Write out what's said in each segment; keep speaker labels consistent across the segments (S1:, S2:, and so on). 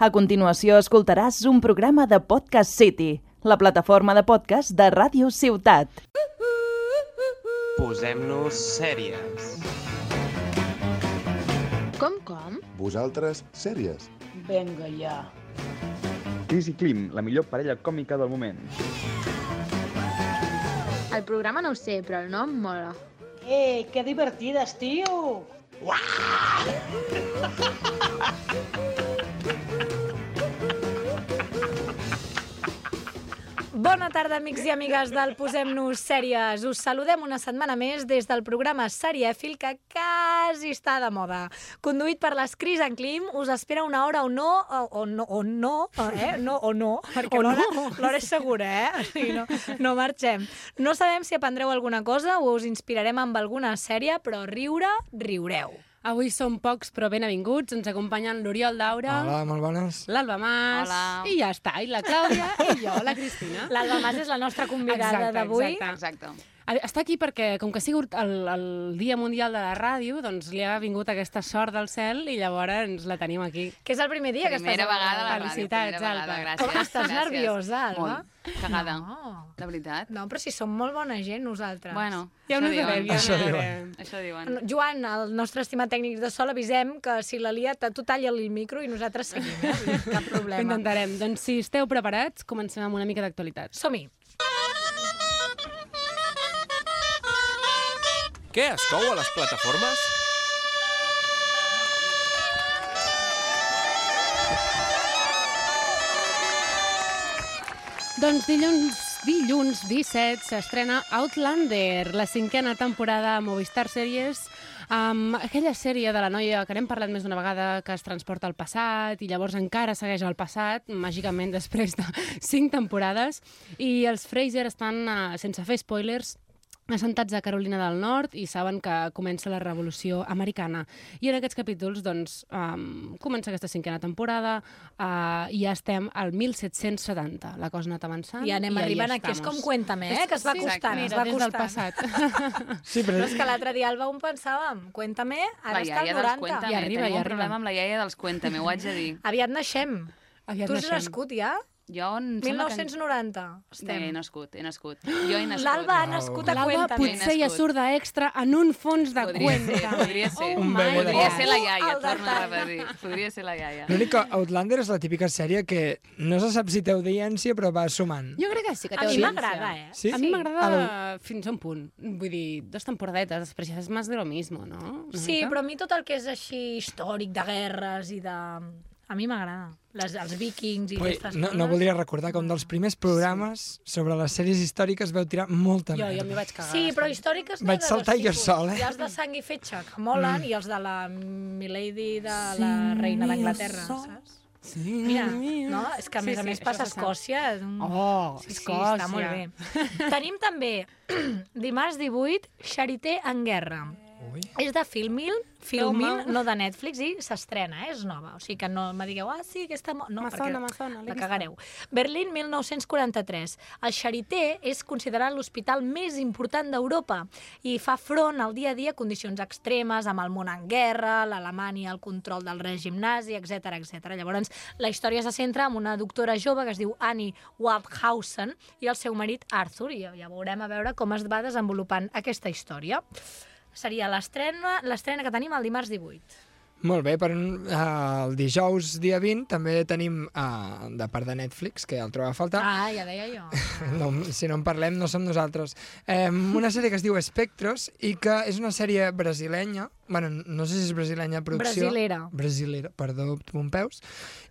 S1: A continuació escoltaràs un programa de Podcast City, la plataforma de podcast de Ràdio Ciutat.
S2: Posem-nos sèries.
S3: Com, com?
S4: Vosaltres, sèries.
S5: Venga ja.
S6: Cris i Klim, la millor parella còmica del moment.
S3: El programa no ho sé, però el nom mola.
S5: Eh, que divertides, tio!
S7: Bona tarda, amics i amigues del Posem-nos Sèries. Us saludem una setmana més des del programa Serièfil, que quasi està de moda. Conduït per les Cris en Clim, us espera una hora o no, o, o no, o no, eh? No, o no, perquè l'hora l'hora és segura, eh? O sigui, no, no marxem. No sabem si aprendreu alguna cosa o us inspirarem amb alguna sèrie, però riure, riureu.
S8: Avui som pocs, però benvinguts. Ens acompanyen l'Oriol Daura,
S9: Hola, molt bones.
S8: l'Alba Mas,
S3: Hola.
S8: i ja està, i la Clàudia, i jo, la Cristina.
S7: L'Alba Mas és la nostra convidada
S8: Exacte,
S7: d'avui.
S8: exacte.
S3: Exacte.
S8: A- Està aquí perquè, com que ha sigut el, el Dia Mundial de la Ràdio, doncs li ha vingut aquesta sort del cel i llavors ens la tenim aquí.
S7: Que és el primer dia que
S3: Primera
S7: estàs... a la
S3: vegada a la ràdio.
S8: Felicitats,
S3: primera vegada,
S8: Alba.
S3: Gràcies,
S7: Com estàs
S3: gràcies.
S7: nerviosa, Alba?
S3: Molt. Cagada.
S7: No.
S3: De veritat.
S7: Oh. No, però si som molt bona gent, nosaltres.
S3: Bueno,
S8: Ja
S3: això
S8: ho
S3: diuen.
S8: sabem, ja
S9: Això
S8: ho
S9: diuen.
S8: veurem.
S3: Això diuen.
S7: No, Joan, el nostre estimat tècnic de sol, avisem que si la lia, ta- tu talla el micro i nosaltres seguim, eh? cap
S8: Ho
S7: problema.
S8: intentarem. Doncs si esteu preparats, comencem amb una mica d'actualitat.
S7: Som-hi.
S2: Què es cou a les plataformes?
S8: Doncs dilluns, dilluns 17 s'estrena Outlander, la cinquena temporada a Movistar Series, amb aquella sèrie de la noia que n'hem parlat més d'una vegada que es transporta al passat i llavors encara segueix al passat, màgicament després de cinc temporades, i els Fraser estan, eh, sense fer spoilers, assentats a Carolina del Nord i saben que comença la Revolució Americana. I en aquests capítols, doncs, um, comença aquesta cinquena temporada uh, i ja estem al 1770. La cosa ha anat avançant.
S7: I anem
S8: ahí
S7: arribant aquí. És
S8: estamos.
S7: com Cuéntame, eh? Que es va
S3: Sí,
S7: costant,
S3: exacte.
S7: es
S8: Mira, des
S7: va
S8: del
S7: costant.
S8: passat.
S9: Sí,
S7: Però
S9: però...
S7: és que l'altre dia al Baum pensàvem, Cuéntame, ara
S3: la
S7: està al
S3: iaia dels
S7: 90.
S3: Cuéntame.
S8: I arriba,
S3: Tenim
S8: i
S3: un
S8: arriba.
S3: problema amb la iaia dels Cuéntame, ho haig de dir.
S7: Aviat naixem.
S8: Aviat
S7: tu has
S8: naixem.
S7: nascut ja?
S3: Jo Mm, em sembla que...
S7: 1990
S3: No, he
S7: estem.
S3: nascut, he nascut. Jo he nascut.
S7: L'Alba ha
S9: Wow.
S7: nascut a
S8: L'Alba
S7: Cuéntame.
S8: potser ja
S3: Nascut.
S8: surt d'extra en un fons de
S3: Podria ser,
S8: Cuéntame.
S3: podria ser.
S8: Oh
S9: Un
S8: my
S9: bebè de-
S3: Podria
S8: God.
S3: ser la iaia,
S7: al
S3: torna a
S7: detall.
S3: repetir. Podria ser la iaia.
S9: L'únic que Outlander és la típica sèrie que no se sap si té audiència, però va sumant.
S8: Jo crec que sí que té
S7: A mi
S8: audiència.
S7: m'agrada, eh?
S9: Sí?
S8: A mi m'agrada
S9: El-
S8: fins a un punt. Vull dir, dos temporadetes, després ja és més de lo mismo, no? Una
S7: Sí,
S8: mica.
S7: però a mi tot el que és així històric, de guerres i de... A mi m'agrada. Les- Els vikings i
S9: Ui,
S7: aquestes
S9: no,
S7: coses.
S9: no voldria recordar que un dels primers programes sobre les sèries històriques veu tirar molta
S8: Jo, jo
S9: merda.
S8: m'hi vaig cagar.
S7: Sí, però
S8: bastant.
S7: històriques n'hi ha
S9: Vaig
S7: de dos
S9: saltar jo
S7: tipus.
S9: sol, eh?
S7: Hi ha els de sang i fetge, que molen, i els de la Milady de la reina d'Anglaterra, saps?
S8: Sí,
S7: Mira, no? És que a més
S8: sí,
S7: a més
S8: això
S7: passa a
S8: passa.
S7: Escòcia. és un-
S8: Oh,
S7: sí, sí,
S8: Escòcia.
S7: està molt bé. Tenim també, dimarts 18, Charité en guerra.
S9: Ui.
S7: És de Filmin, Filmin,
S8: Filmin.
S7: no de Netflix, i s'estrena, eh? és nova. O sigui que no me digueu, ah, sí, aquesta... mo-". No,
S8: Me
S7: perquè
S8: sona, me sona, l'he
S7: la
S8: vista.
S7: cagareu. Berlín, 1943. El Charité és considerat l'hospital més important d'Europa i fa front al dia a dia a condicions extremes, amb el món en guerra, l'Alemanya, el control del règim nazi, etc etc. Llavors, la història se centra en una doctora jove que es diu Annie Waldhausen i el seu marit Arthur, i ja veurem a veure com es va desenvolupant aquesta història. Seria l'estrena l'estrena que tenim el dimarts 18.
S9: Molt bé, per un, eh, el dijous dia 20 també tenim, eh, de part de Netflix, que el troba a faltar,
S7: Ah, ja deia jo.
S9: No, si no en parlem, no som nosaltres. Eh, una sèrie que es diu Espectros i que és una sèrie brasilenya, bueno, no sé si és brasilenya producció...
S7: Brasilera.
S9: Brasilera, perdó, Pompeus.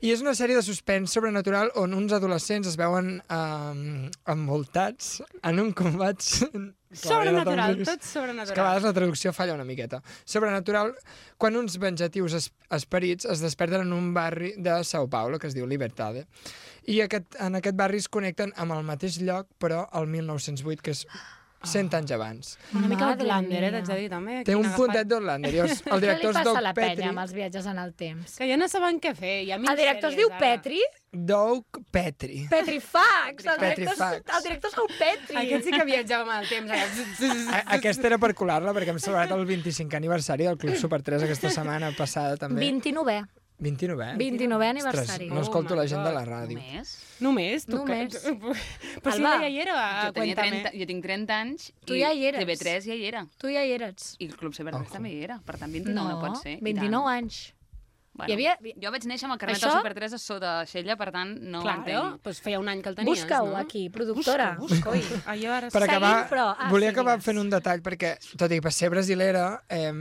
S9: I és una sèrie de suspens sobrenatural on uns adolescents es veuen eh, envoltats en un combat...
S8: Sobrenatural,
S9: Clar,
S8: tot
S9: és que a
S8: sobrenatural.
S9: vegades la traducció falla una miqueta. Sobrenatural, quan uns venjatius es esperits es desperten en un barri de Sao Paulo, que es diu Libertade, i aquest, en aquest barri es connecten amb el mateix lloc, però al 1908, que és 100 anys abans.
S8: Una mica
S7: Madre
S8: Outlander, eh,
S7: mia.
S8: t'haig Ah. de dir, també.
S9: Té
S8: quin
S9: un
S8: agafat.
S9: puntet d'Orlander. El
S7: Què li
S9: director és
S7: passa
S9: Doug
S7: a la penya
S9: Petri.
S7: amb els viatges en el temps?
S8: Que ja no saben què fer. Hi ha mil
S7: El director es
S8: sèries,
S7: diu
S8: ara.
S7: Petri?
S9: Doug Petri.
S7: Petrifax! El director,
S9: Petrifax.
S7: és, el director és el Petri!
S8: Aquest sí que viatjava amb el temps.
S9: A-
S8: ara.
S9: Aquesta era per colar-la perquè hem celebrat el 25 aniversari del Club Super 3 aquesta setmana passada també.
S7: 29è.
S9: 29, eh?
S7: 29è
S9: Ostres,
S7: aniversari.
S9: no escolto
S8: Oh
S9: la gent de la ràdio.
S3: Només?
S8: Només? Tu
S7: Només.
S8: Que... Però si
S7: Alba,
S8: ella hi era,
S3: Jo, tenia
S8: cuéntame.
S3: 30, jo tinc 30 anys
S7: Tu
S3: i
S7: ja hi eres.
S3: TV3 ja hi era.
S7: Tu ja hi eres.
S3: I el Club Ceberders
S9: Ojo.
S3: també hi era. Per tant, 29 no, no pot ser. i
S7: 29 anys.
S3: tant. Bueno,
S7: Hi havia-
S3: Jo vaig néixer amb el carnet
S7: Això-
S3: Això... de Super3 a sota de Xella, per tant, no ho
S8: Claro,
S3: entenc.
S8: pues feia un any que el tenies,
S7: Busca-ho
S8: no?
S7: aquí, productora.
S8: Busca, busca. Ai, jo ara...
S9: Per
S7: Seguim,
S9: acabar,
S7: però- ah,
S9: volia
S7: sí,
S9: acabar
S7: digues.
S9: fent un detall, perquè, tot i que ser brasilera, eh,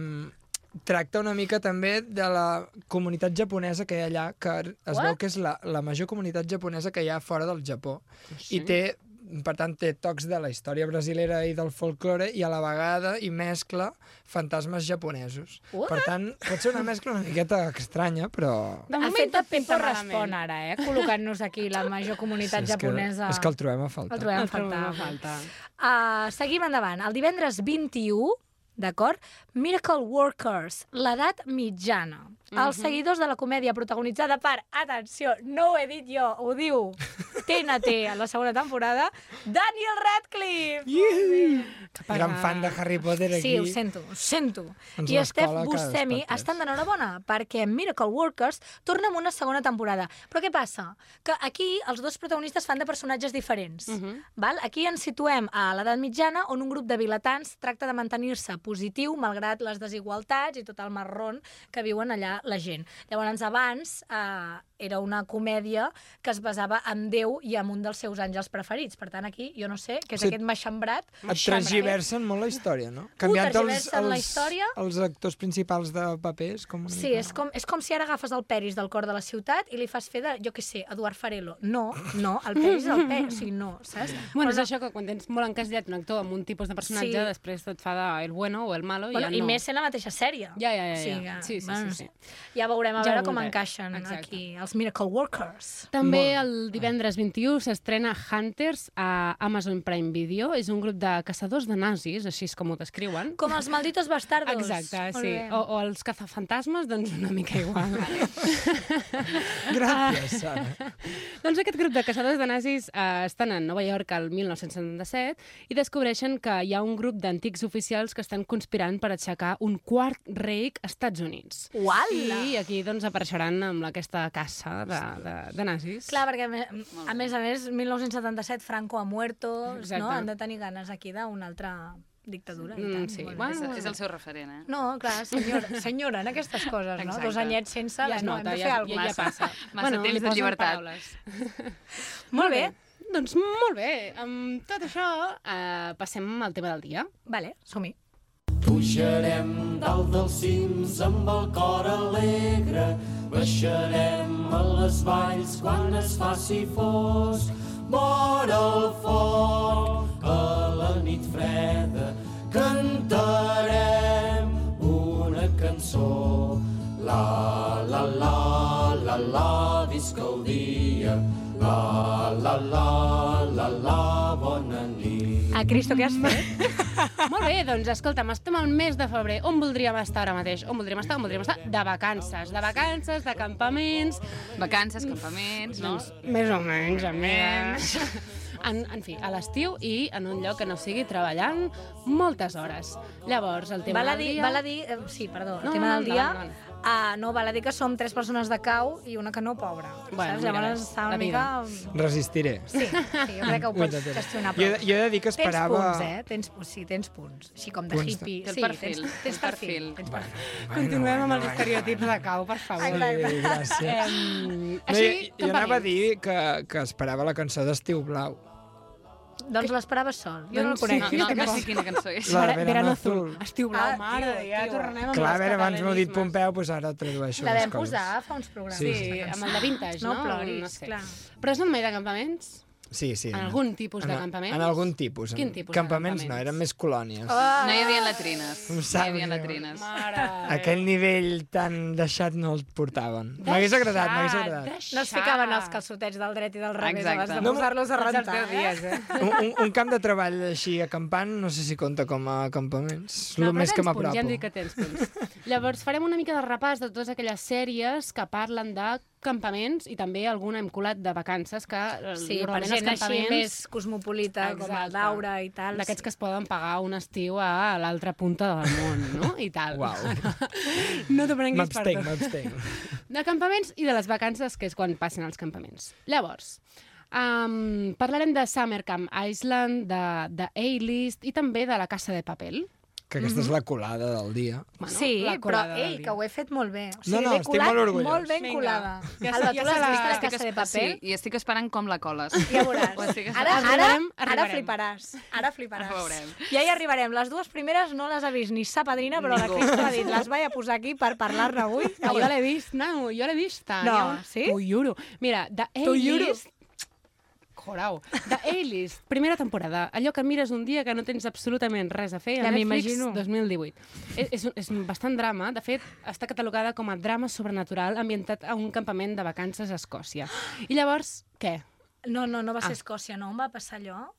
S9: tracta una mica també de la comunitat japonesa que hi ha allà, que es
S7: What?
S9: veu que és la, la major comunitat japonesa que hi ha fora del Japó. I té, per tant, té tocs de la història brasilera i del folklore i a la vegada hi mescla fantasmes japonesos.
S7: What?
S9: Per tant, pot ser una mescla una miqueta estranya, però...
S8: De
S7: ha
S8: moment
S7: fet el
S8: tot
S7: Pimpo
S8: pinta
S7: respon
S8: malament.
S7: ara, eh? Col·locant-nos aquí la major comunitat
S9: és, que,
S7: japonesa.
S9: és que el trobem a falta.
S7: El trobem
S8: El
S7: a faltar.
S8: trobem a faltar.
S7: Uh, seguim endavant. El divendres 21, d'acord? Miracle Workers, l'edat mitjana. Els
S8: Mhm.
S7: seguidors de la comèdia protagonitzada per, atenció, no ho he dit jo, ho diu TNT a la segona temporada, Daniel Radcliffe!
S9: Gran fan de Harry Potter aquí.
S7: Sí, ho sento, ho sento.
S9: Ens
S7: I Steph
S9: l'escola cada
S7: Buscemi
S9: espectres.
S7: estan d'enhorabona perquè Miracle Workers torna amb una segona temporada. Però què passa? Que aquí els dos protagonistes fan de personatges diferents. Val? Aquí ens situem a l'edat mitjana on un grup de vilatans tracta de mantenir-se positiu malgrat les desigualtats i tot el marron que viuen allà la gent. Llavors, abans eh, era una comèdia que es basava en Déu i en un dels seus àngels preferits. Per tant, aquí jo no sé què és
S9: Sí.
S7: aquest maixambrat.
S9: Et transgiversen molt la història, no?
S7: eh? Uh, tergiversen la història.
S9: els actors principals de papers, com una
S7: Sí,
S9: mica,
S7: és
S9: no?
S7: com, és com si ara agafes el Peris del cor de la ciutat i li fas fer de, jo què sé, Eduard Farelo. No, no, el Peris és el Peris, o sigui, no, saps?
S8: Bueno, és això que quan tens molt encasillat un actor amb un tipus de personatge,
S7: Sí.
S8: sí. després et fa de el bueno o el malo
S7: Bueno,
S8: i ja
S7: I
S8: no.
S7: més sent la mateixa sèrie.
S8: Ja, ja, ja,
S7: O sigui,
S8: ja.
S7: que,
S8: Sí, sí,
S7: bueno,
S8: sí,
S7: no sé. Ja veurem a
S8: Ja
S7: veure
S8: ho
S7: com
S8: veurem.
S7: encaixen
S8: Exacte.
S7: aquí els Miracle Workers.
S8: També el divendres 21 s'estrena Hunters a Amazon Prime Video. És un grup de caçadors de nazis, així és com ho descriuen.
S7: Com els malditos bastardos.
S8: Exacte,
S7: Molt
S8: Ah, sí.
S7: bé.
S8: O, o els cazafantasmes, doncs una mica igual.
S9: Gràcies, Sara.
S8: Doncs aquest grup de caçadors de nazis eh, estan a Nova York al 1977 i descobreixen que hi ha un grup d'antics oficials que estan conspirant per aixecar un quart reic a Estats Units.
S7: Uala!
S8: I aquí doncs apareixeran amb aquesta caça de, de, de nazis.
S7: Clar, perquè a me- a més a més, 1977, Franco ha muerto,
S8: Exacte.
S7: no? Han de tenir ganes aquí d'una altra dictadura. i
S8: Mm,
S7: tant.
S8: sí.
S7: Molt bé.
S8: Bueno,
S3: És, és el seu referent, eh?
S7: No, clar, senyora, senyora, en aquestes coses, no?
S3: Exacte.
S7: Dos anyets sense,
S8: ja es
S7: no,
S8: nota,
S7: hem de fer
S8: ja,
S7: alguna
S8: ja, ja
S7: cosa.
S8: passa.
S3: Massa temps
S8: li
S3: de
S8: posen
S3: llibertat.
S8: Paraules.
S7: Molt bé.
S8: Doncs molt bé, amb tot això eh, passem al tema del dia.
S7: Vale, som-hi.
S10: Pujarem dalt dels cims amb el cor alegre, baixarem a les valls quan es faci fosc. Mor el foc a la nit freda, cantarem una cançó. La, la, la, la, la, visca el dia. La, la, la, la, la, bona nit.
S7: A Cristo, què has fet?
S8: Molt bé, doncs escolta'm, estem al mes de febrer. On voldríem estar ara mateix? On voldríem estar? On voldríem estar? De vacances, de vacances, de campaments... Doncs,
S3: Vacances, campaments, no?
S8: Més o menys, a més. En, en fi, a l'estiu i en un lloc que no sigui treballant moltes hores. Llavors, el tema
S7: Val a
S8: del
S7: dir,
S8: dia...
S7: val a dir eh, sí, perdó, el
S8: No,
S7: tema
S8: no,
S7: del dia...
S8: endavant,
S7: Ah, no, val a dir que som tres persones de cau i una que no pobra.
S8: Bueno,
S7: saps?
S8: mira,
S7: Llavors
S8: ves,
S7: està una
S8: la
S7: mica...
S8: vida.
S9: Resistiré.
S7: Sí, sí, jo crec que ho
S9: Ho
S7: pots
S9: intentaré.
S7: gestionar
S9: Jo,
S7: prou.
S9: jo he de dir que
S7: Tens
S9: esperava...
S7: punts, eh? Tens, punts, sí, tens punts. Així com de
S9: Punts de-
S7: hippie.
S3: Té el
S7: sí,
S3: perfil, té el
S7: Tens, tens
S3: perfil.
S7: perfil. Tens perfil.
S8: Continuem amb els estereotips de cau, per favor.
S9: Sí, gràcies.
S8: Em,
S9: No,
S8: així,
S9: jo, jo anava a dir que, que esperava la cançó d'Estiu Blau.
S7: Doncs l'esperava sol. Jo no el
S8: Doncs
S7: conec.
S3: No, no, no sé quina cançó és.
S9: La de
S8: Vera-
S9: Verano
S8: Verano
S9: Azul.
S8: Azul. Estiu blau,
S7: Ah,
S8: mare,
S7: tio,
S8: ja
S7: tio.
S8: tornem amb
S9: Clar, a
S8: els
S9: veure, abans m'ho ha dit
S8: catalanismes.
S9: Pompeu, doncs ara tradueixo
S7: La
S9: les
S7: vam
S9: coses.
S7: posar fa uns programes.
S8: Sí,
S7: aquesta cançó.
S8: amb el de vintage, no?
S7: No ploris,
S8: no sé.
S7: clar.
S8: Però has anat mai de campaments?
S9: Sí, sí.
S8: En algun tipus de
S9: en,
S8: campaments?
S9: En algun tipus.
S8: Quin tipus de
S9: Campaments no,
S8: campaments?
S9: eren més colònies.
S7: Ah!
S3: No hi havia latrines.
S9: Em
S3: No hi
S9: sap
S3: havia
S9: greu.
S3: latrines.
S8: Mare...
S9: Aquell nivell tan deixat no el portaven. M'hagués agradat, m'hagués agradat.
S7: No es ficaven els calçotets del dret i del revés
S3: Exacte.
S7: abans de
S9: No,
S7: posar-los a rentar. eh?
S9: un, un, un camp de treball així acampant no sé si compta com a acampaments. No, el més que m'apropo.
S8: Ja hem dit que tens punts. Llavors farem una mica de repàs de totes aquelles sèries que parlen de campaments i també alguna hem colat de vacances que eh,
S7: Sí, per
S8: normalment els
S7: gent així
S8: campaments...
S7: més cosmopolita, com el
S8: Exacte.
S7: Daura i tal.
S8: D'aquests que es poden pagar un estiu a l'altra punta del món, no? I tal.
S9: Uau.
S8: No t'ho prenguis per
S9: M'abstenc,
S8: tot.
S9: m'abstenc.
S8: de campaments i de les vacances, que és quan passen els campaments. Llavors, um, parlarem de Summer Camp Island, de, de A-List i també de la Casa de Papel.
S9: Que aquesta és la colada del dia.
S8: Bueno,
S7: sí,
S8: la
S7: però
S8: colada del
S7: ei,
S8: dia.
S7: que ho he fet molt bé. O sigui,
S9: No, no,
S7: l'he
S9: estic
S7: colat
S9: molt orgullós.
S7: Molt ben
S8: Vinga.
S7: colada.
S8: Ja se-
S7: Alba, tu
S8: ja
S7: l'has
S8: se la-
S7: vist a la
S8: estic
S7: casa de paper?
S3: Sí, i estic esperant com la coles.
S7: Ja veuràs.
S3: Ho estic
S7: Ara, ara,
S8: Arribarem,
S7: ara
S8: arribarem.
S7: fliparàs. Ara fliparàs.
S3: Ara veurem.
S7: Ja hi arribarem. Les dues primeres no les ha vist ni sa padrina, però
S3: Ningú. Ah,
S7: la Cris ha dit, les vaig a posar aquí per parlar-ne avui.
S8: Que jo l'he vist, no, jo l'he vista.
S7: Ah, No,
S8: Hi ha un-
S7: sí?
S8: T'ho juro. Mira, de
S7: T'ho juro.
S8: A-List... Corau. De A-List, primera temporada. Allò que mires un dia que no tens absolutament res a fer.
S7: Ja
S8: a Netflix
S7: m'imagino.
S8: 2018. És, E, és, un- és un bastant drama. De fet, està catalogada com a drama sobrenatural ambientat a un campament de vacances a Escòcia. I llavors, què?
S7: No, no, no va ser
S8: Ah.
S7: Escòcia, no? On va passar allò?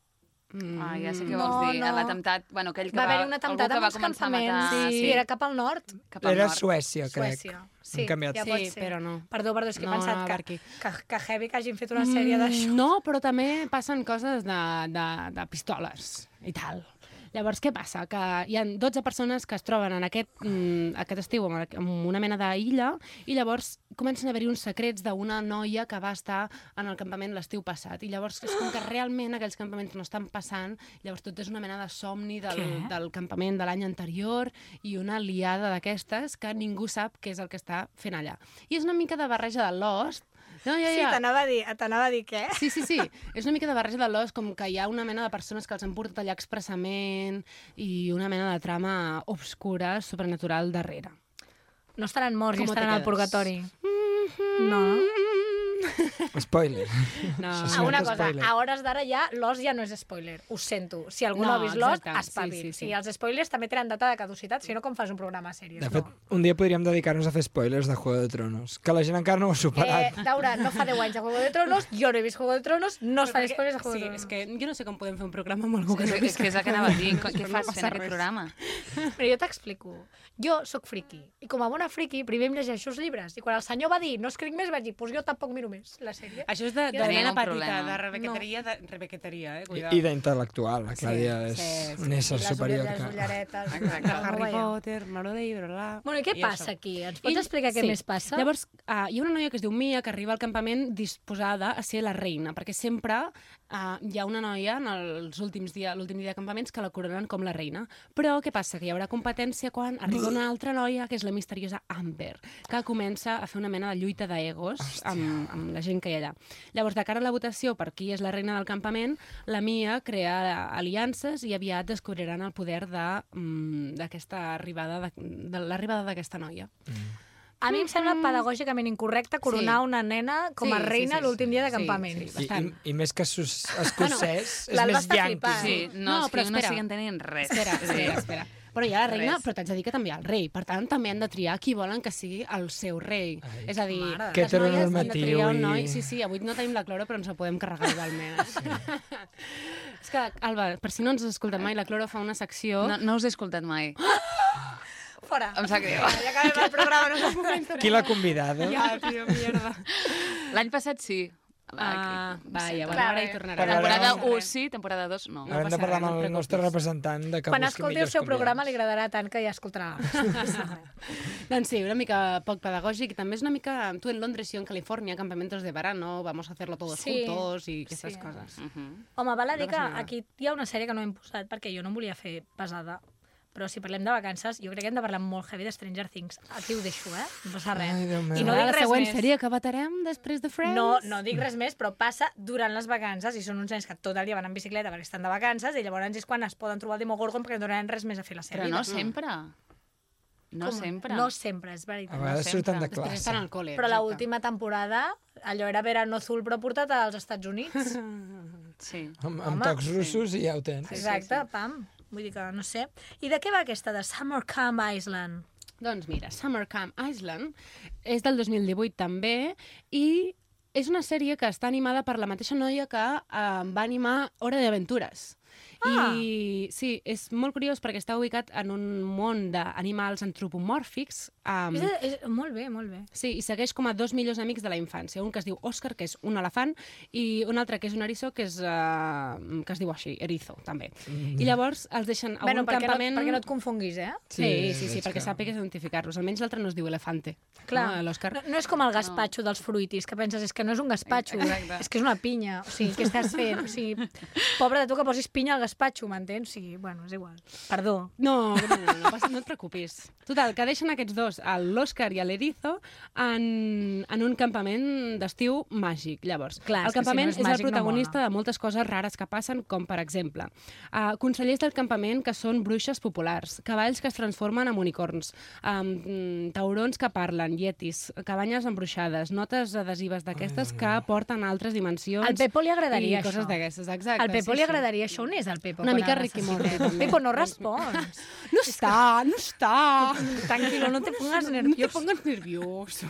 S8: Mm,
S3: Ah, ja sé què
S7: No,
S3: vols dir.
S7: no.
S3: L'atemptat, bueno, aquell que
S7: Va
S3: va...
S7: haver-hi un atemptat
S3: algú
S7: amb
S3: que va
S7: uns
S3: començar a matar...
S7: campaments. Sí. I era cap al nord.
S3: cap al
S9: Era
S3: nord.
S9: Suècia, crec.
S7: Suècia.
S9: Han canviat.
S7: ja
S8: Sí,
S7: pot ser.
S8: però no.
S7: Perdó, perdó, és que he
S8: No,
S7: pensat
S8: no, per
S7: que,
S8: aquí.
S7: que, que heavy que hagin fet una sèrie
S8: Mm,
S7: d'això.
S8: No, però també passen coses de, de, de pistoles i tal. Llavors, què passa? Que hi ha 12 persones que es troben en aquest, mm, aquest estiu en en una mena d'illa i llavors comencen a haver-hi uns secrets d'una noia que va estar en el campament l'estiu passat. I llavors és com que realment aquells campaments no estan passant, llavors tot és una mena de somni del, del campament de l'any anterior i una liada d'aquestes que ningú sap què és el que està fent allà. I és una mica de barreja de Lost. No, ja,
S7: Sí,
S8: ja.
S7: t'anava a dir, t'anava a dir què?
S8: Sí, sí, sí. És una mica de barreja de l'os, com que hi ha una mena de persones que els han portat allà expressament i una mena de trama obscura, sobrenatural, darrere.
S7: No estaran morts i
S8: Com te
S7: estaran al
S8: quedes?
S7: purgatori. No.
S9: Spoiler.
S8: No.
S9: Sí, sí.
S7: Ah, una
S9: Cert
S7: cosa,
S9: spoiler.
S7: a hores d'ara ja l'os ja no és spoiler, ho sento. Si algú no,
S8: No,
S7: ha vist l'os,
S8: exacte, sí,
S7: espavit. Sí,
S8: sí,
S7: sí,
S8: sí.
S7: I els spoilers també tenen data de caducitat, si no com fas un programa seriós.
S9: De fet,
S7: no.
S9: un dia podríem dedicar-nos a fer spoilers de Juego de Tronos, que la gent encara no ho ha
S7: Eh,
S9: superat.
S7: Daura, no fa 10 anys de Juego de Tronos, jo no he vist Juego de Tronos, no es fan spoilers de Juego
S8: Sí,
S7: de Tronos.
S8: és que jo no sé com podem fer un programa amb algú que
S3: És,
S8: no
S3: és que és el que anava a dir. Què fas fent
S8: passa
S3: aquest
S8: res.
S3: programa?
S7: Però jo t'explico. Jo sóc friki. I com a bona friki, primer em llegeixo els llibres. I quan el senyor va dir, no escric més, vaig dir, pues jo tampoc miro més la sèrie.
S8: Això és de, de
S3: Tenim
S8: nena
S3: un
S8: petita,
S3: problema.
S8: de rebequeteria, de rebequeteria, eh?
S9: I,
S8: Cuidao.
S9: I d'intel·lectual, la Clàudia és un ésser
S7: les,
S9: superior.
S7: ull- les
S9: Que...
S7: ulleretes.
S3: Exacte.
S7: no ho
S8: Harry
S7: veieu.
S8: Potter, Maro de Ibralà...
S7: Bueno, i què passa aquí? Ens pots explicar què més passa?
S8: Llavors, uh, hi ha una noia que es diu Mia que arriba al campament disposada a ser la reina, perquè sempre uh, hi ha una noia en els últims dia, l'últim dia de campaments que la coronen com la reina. Però què passa? Que hi haurà competència quan arriba una altra noia, que és la misteriosa Amber, que comença a fer una mena de lluita d'egos amb, amb la gent que hi ha allà. Llavors, de cara a la votació per qui és la reina del campament, la Mia crea aliances i aviat descobriran el poder de, mm, d'aquesta arribada de, de l'arribada d'aquesta noia.
S7: A mi em sembla pedagògicament incorrecte coronar
S8: mm, Sí.
S7: una nena com a
S8: Sí, sí,
S7: reina
S8: sí,
S7: l'últim
S8: sí.
S7: dia de
S8: Sí,
S7: campament.
S8: sí,
S9: I, i,
S8: bastant.
S9: I més que sus- escocès, és
S7: L'Alba
S9: més
S7: està
S9: yanqui.
S7: flipant.
S3: Sí, no,
S8: No,
S3: és
S8: però
S3: que no
S8: espera.
S3: estic entenent res.
S8: Espera,
S3: Sí.
S8: espera, espera. Però hi ha la reina,
S3: Res.
S8: però t'haig de dir que també hi ha el rei. Per tant, també han de triar qui volen que sigui el seu rei.
S9: Ai.
S8: és a dir,
S7: Mare.
S9: Que
S8: les noies han de
S9: heteronormatiu
S8: triar un
S9: i-
S8: noi... Sí, sí, avui no tenim la Cloro, però ens la podem carregar igualment. Sí. és que, Alba, per si no ens has escoltat mai, la Cloro fa una secció...
S3: No, no us he escoltat mai.
S7: Fora.
S3: Em sap greu.
S7: Ja acabem el programa. No
S9: Qui l'ha convidada?
S8: Ja, tio, mierda.
S3: L'any passat sí.
S8: Ah,
S3: Aquí,
S8: vaja,
S3: em
S8: bueno,
S3: sento.
S8: ara hi tornarà.
S9: Parlarem-
S3: Temporada
S9: Parlarem-
S3: 1 sí, temporada 2 no.
S8: No
S9: Haurem
S8: passa
S9: de parlar
S8: res, no
S9: amb
S8: et
S9: el nostre
S8: preocupis.
S9: representant de que
S7: Quan
S9: busqui
S7: escolti el
S9: millors
S7: seu programa li
S9: convidats.
S7: agradarà tant que ja escoltarà.
S8: Doncs sí, una mica poc pedagògic. I també és una mica... Tu en Londres i jo en Califòrnia, campamentos de verano, vamos a hacerlo todos
S7: Sí.
S8: juntos i aquestes
S7: Sí. Mm.
S8: coses.
S3: Mhm.
S7: Home, val a dir
S8: No
S7: que
S8: passa nada.
S7: aquí hi ha una sèrie que no hem posat perquè jo no em volia fer pesada. Però si parlem de vacances, jo crec que hem de parlar molt heavy de Stranger Things. Aquí ho deixo, eh? No passa res.
S9: Ai, Déu meu.
S7: I
S8: I
S7: no
S8: no
S7: dic
S8: la
S7: res
S8: següent
S7: més.
S8: sèrie que vetarem després de Friends?
S7: No, no dic res més, però passa durant les vacances i són uns nens que tot el dia van en bicicleta perquè estan de vacances i llavors és quan es poden trobar el Demogorgon perquè no tenen res més a fer a la seva
S3: Però
S7: vida.
S3: no
S8: Mm.
S3: sempre. No
S7: Com?
S3: sempre.
S7: No sempre, és
S9: A
S7: veritat.
S9: vegades
S3: sempre.
S9: surten de
S8: Després
S9: classe.
S8: estan al col·le.
S7: Però
S8: exacte.
S7: l'última temporada, allò era Verano Azul, però portat als Estats Units.
S3: Sí.
S9: Amb, amb
S7: Home,
S9: tocs russos i ja ho tens.
S7: Exacte, pam. Vull dir que no sé. I de què va aquesta de Summer Camp Island?
S8: Doncs mira, Summer Camp Island és del 2018 també i és una sèrie que està animada per la mateixa noia que eh, va animar Hora d'Aventures.
S7: Ah.
S8: I sí, és molt curiós perquè està ubicat en un món d'animals antropomòrfics. Um,
S7: És, és, molt bé, molt bé.
S8: Sí, i segueix com a dos millors amics de la infància. Un que es diu Òscar, que és un elefant, i un altre que és un eriçó, que, és, uh, que es diu així, erizo, també.
S9: Mm.
S8: I llavors els deixen a
S7: Mm. Bueno,
S8: un
S7: perquè,
S8: campament...
S7: no, perquè no et confonguis, eh?
S8: Sí, sí, sí, sí
S9: és
S8: perquè
S9: que-
S8: sàpigues identificar-los. Almenys l'altre no es diu elefante.
S7: Clar.
S8: No, L'Òscar.
S7: No, no és com el gaspatxo dels fruitis, que penses, és que no és un gaspatxo,
S3: Exacte.
S7: és que és una pinya. O sigui, què estàs fent? O sigui, pobre de tu que posis pinya al gaspatxo, m'entens? O sigui, bueno, és igual. Perdó.
S8: No, no, no, no, no, no et preocupis. Total, que deixen aquests dos, el l'Òscar i l'Erizo, en, en un campament d'estiu màgic. Llavors,
S7: Clar, és
S8: el
S7: que si
S8: campament
S7: no és
S8: és,
S7: màgic
S8: el
S7: no
S8: protagonista
S7: mola.
S8: de moltes coses rares que passen, com per exemple, uh, consellers del campament que són bruixes populars, cavalls que es transformen en unicorns, um, taurons que parlen, yetis, cabanyes embruixades, notes adhesives d'aquestes que porten a altres dimensions...
S7: Al Pepo li agradaria
S8: Doncs i coses
S7: això.
S8: d'aquestes, exacte.
S7: Al Pepo
S8: sí,
S7: li
S8: sí.
S7: agradaria això? On és el Pepo?
S8: Una
S7: quan
S8: mica
S7: el
S8: Ricky
S7: necessitem?
S8: Morty, també.
S7: Pepo, no respons.
S8: No està, no està!
S7: Tranquilo, no te pongas
S8: No te
S7: nervioso.
S8: pongas nervioso.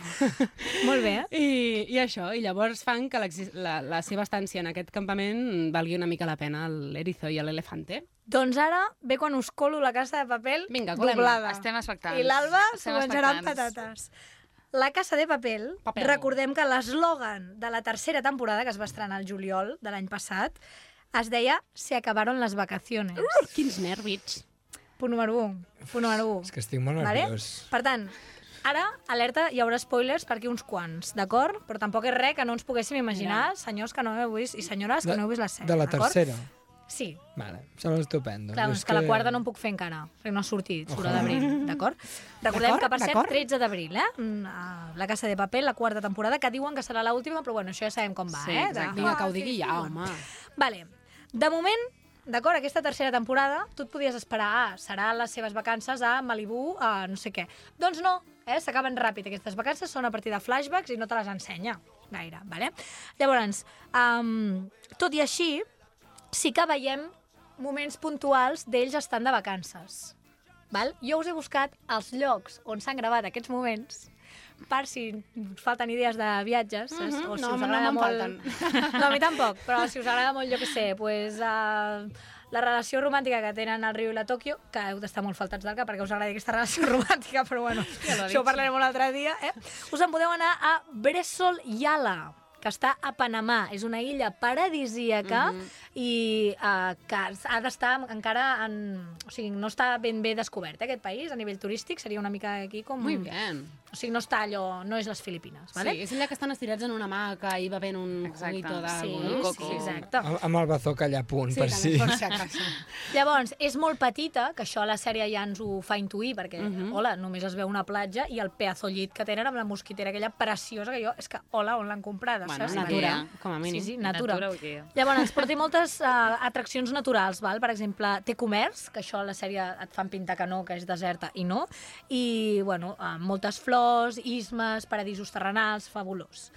S7: Molt bé.
S8: I, I això, i llavors fan que l'exis- la, la seva estància en aquest campament valgui una mica la pena l'erizo i l'elefante.
S7: Doncs ara ve quan us colo la casa de paper
S8: Vinga, colem-la.
S7: doblada.
S3: Estem expectants.
S7: I l'Alba s'ho
S3: Estem
S7: menjarà amb
S3: expectants.
S7: patates. La Casa de Papel,
S8: Papel.
S7: recordem que l'eslògan de la tercera temporada que es va estrenar al juliol de l'any passat es deia Se acabaron las vacaciones.
S8: Quins nervis!
S7: Punt número 1. Punt número 1.
S9: És que estic molt
S7: Vale?
S9: nerviós.
S7: Per tant, ara, alerta, hi haurà spoilers per aquí uns quants, d'acord? Però tampoc és res que no ens poguéssim imaginar, senyors que no heu vist i senyores que no heu vist la sèrie,
S9: de la
S7: d'acord?
S9: tercera.
S7: Sí,
S9: Vale, em sembla estupendo.
S7: Clar,
S9: Jo
S7: doncs
S9: és
S7: que la quarta no em puc fer encara, perquè no ha sortit, surt a d'abril, d'acord? Recordem
S8: D'acord,
S7: que, per cert,
S8: d'acord.
S7: 13 d'abril, eh? Mm, a La Casa de Paper, la quarta temporada, que diuen que serà l'última, però bueno, això ja sabem com va,
S3: Sí,
S7: eh? De-
S3: exacte.
S8: Vinga, que ho
S7: Ah, sí,
S8: digui
S7: sí,
S8: ja,
S7: bueno.
S8: home.
S7: Vale. De moment, d'acord, aquesta tercera temporada, tu et podies esperar, ah, serà les seves vacances a Malibu, a no sé què. Doncs no, eh? s'acaben ràpid. Aquestes vacances són a partir de flashbacks i no te les ensenya gaire, vale? Llavors, um, tot i així, sí que veiem moments puntuals d'ells estan de vacances. Val? Jo us he buscat els llocs on s'han gravat aquests moments per si us falten idees de viatges mm -hmm. o si
S8: Mhm. no,
S7: us
S8: no
S7: agrada
S8: me'n
S7: molt...
S8: falten.
S7: No, a mi tampoc, però si us agrada molt, jo què sé, pues, uh, la relació romàntica que tenen el Riu i la Tòquio, que heu d'estar molt faltats del cap perquè us agradi aquesta relació romàntica, però bueno,
S3: l'ha dit,
S7: això ho parlarem un altre dia, eh? Us en podeu anar a Bressol Yala, que està a Panamà. És una illa paradisíaca
S8: Mhm.
S7: i eh, que ha d'estar encara en... O sigui, no està ben bé descobert, eh, aquest país, a nivell turístic. Seria una mica aquí com...
S8: Muy bien.
S7: O sigui, no està allò... No és les Filipines,
S8: Vale?
S7: vale?
S8: Sí, és allà que estan estirats en una hamaca i bevent un
S3: Exacte.
S8: juguito
S7: sí,
S8: d'algo, no?
S7: sí,
S3: coco.
S7: exacte.
S9: Amb amb el bazoca allà a punt, sí, per si...
S8: si acaso.
S7: Llavors, és molt petita, que això la sèrie ja ens ho fa intuir, perquè,
S8: Mhm.
S7: hola, només es veu una platja i el pedazo llit que tenen amb la mosquitera aquella preciosa que jo... És que, hola, on l'han comprada,
S8: Bueno,
S7: saps?
S8: natura,
S3: Perquè-
S8: com a mínim.
S7: Sí, sí, natura.
S3: Natura, ok.
S7: Llavors, ens porti moltes uh, atraccions naturals, val? Per exemple, té comerç, que això a la sèrie et fan pintar que no, que és deserta, i no. I, bueno, uh, moltes flors, ismes, paradisos terrenals, fabulós.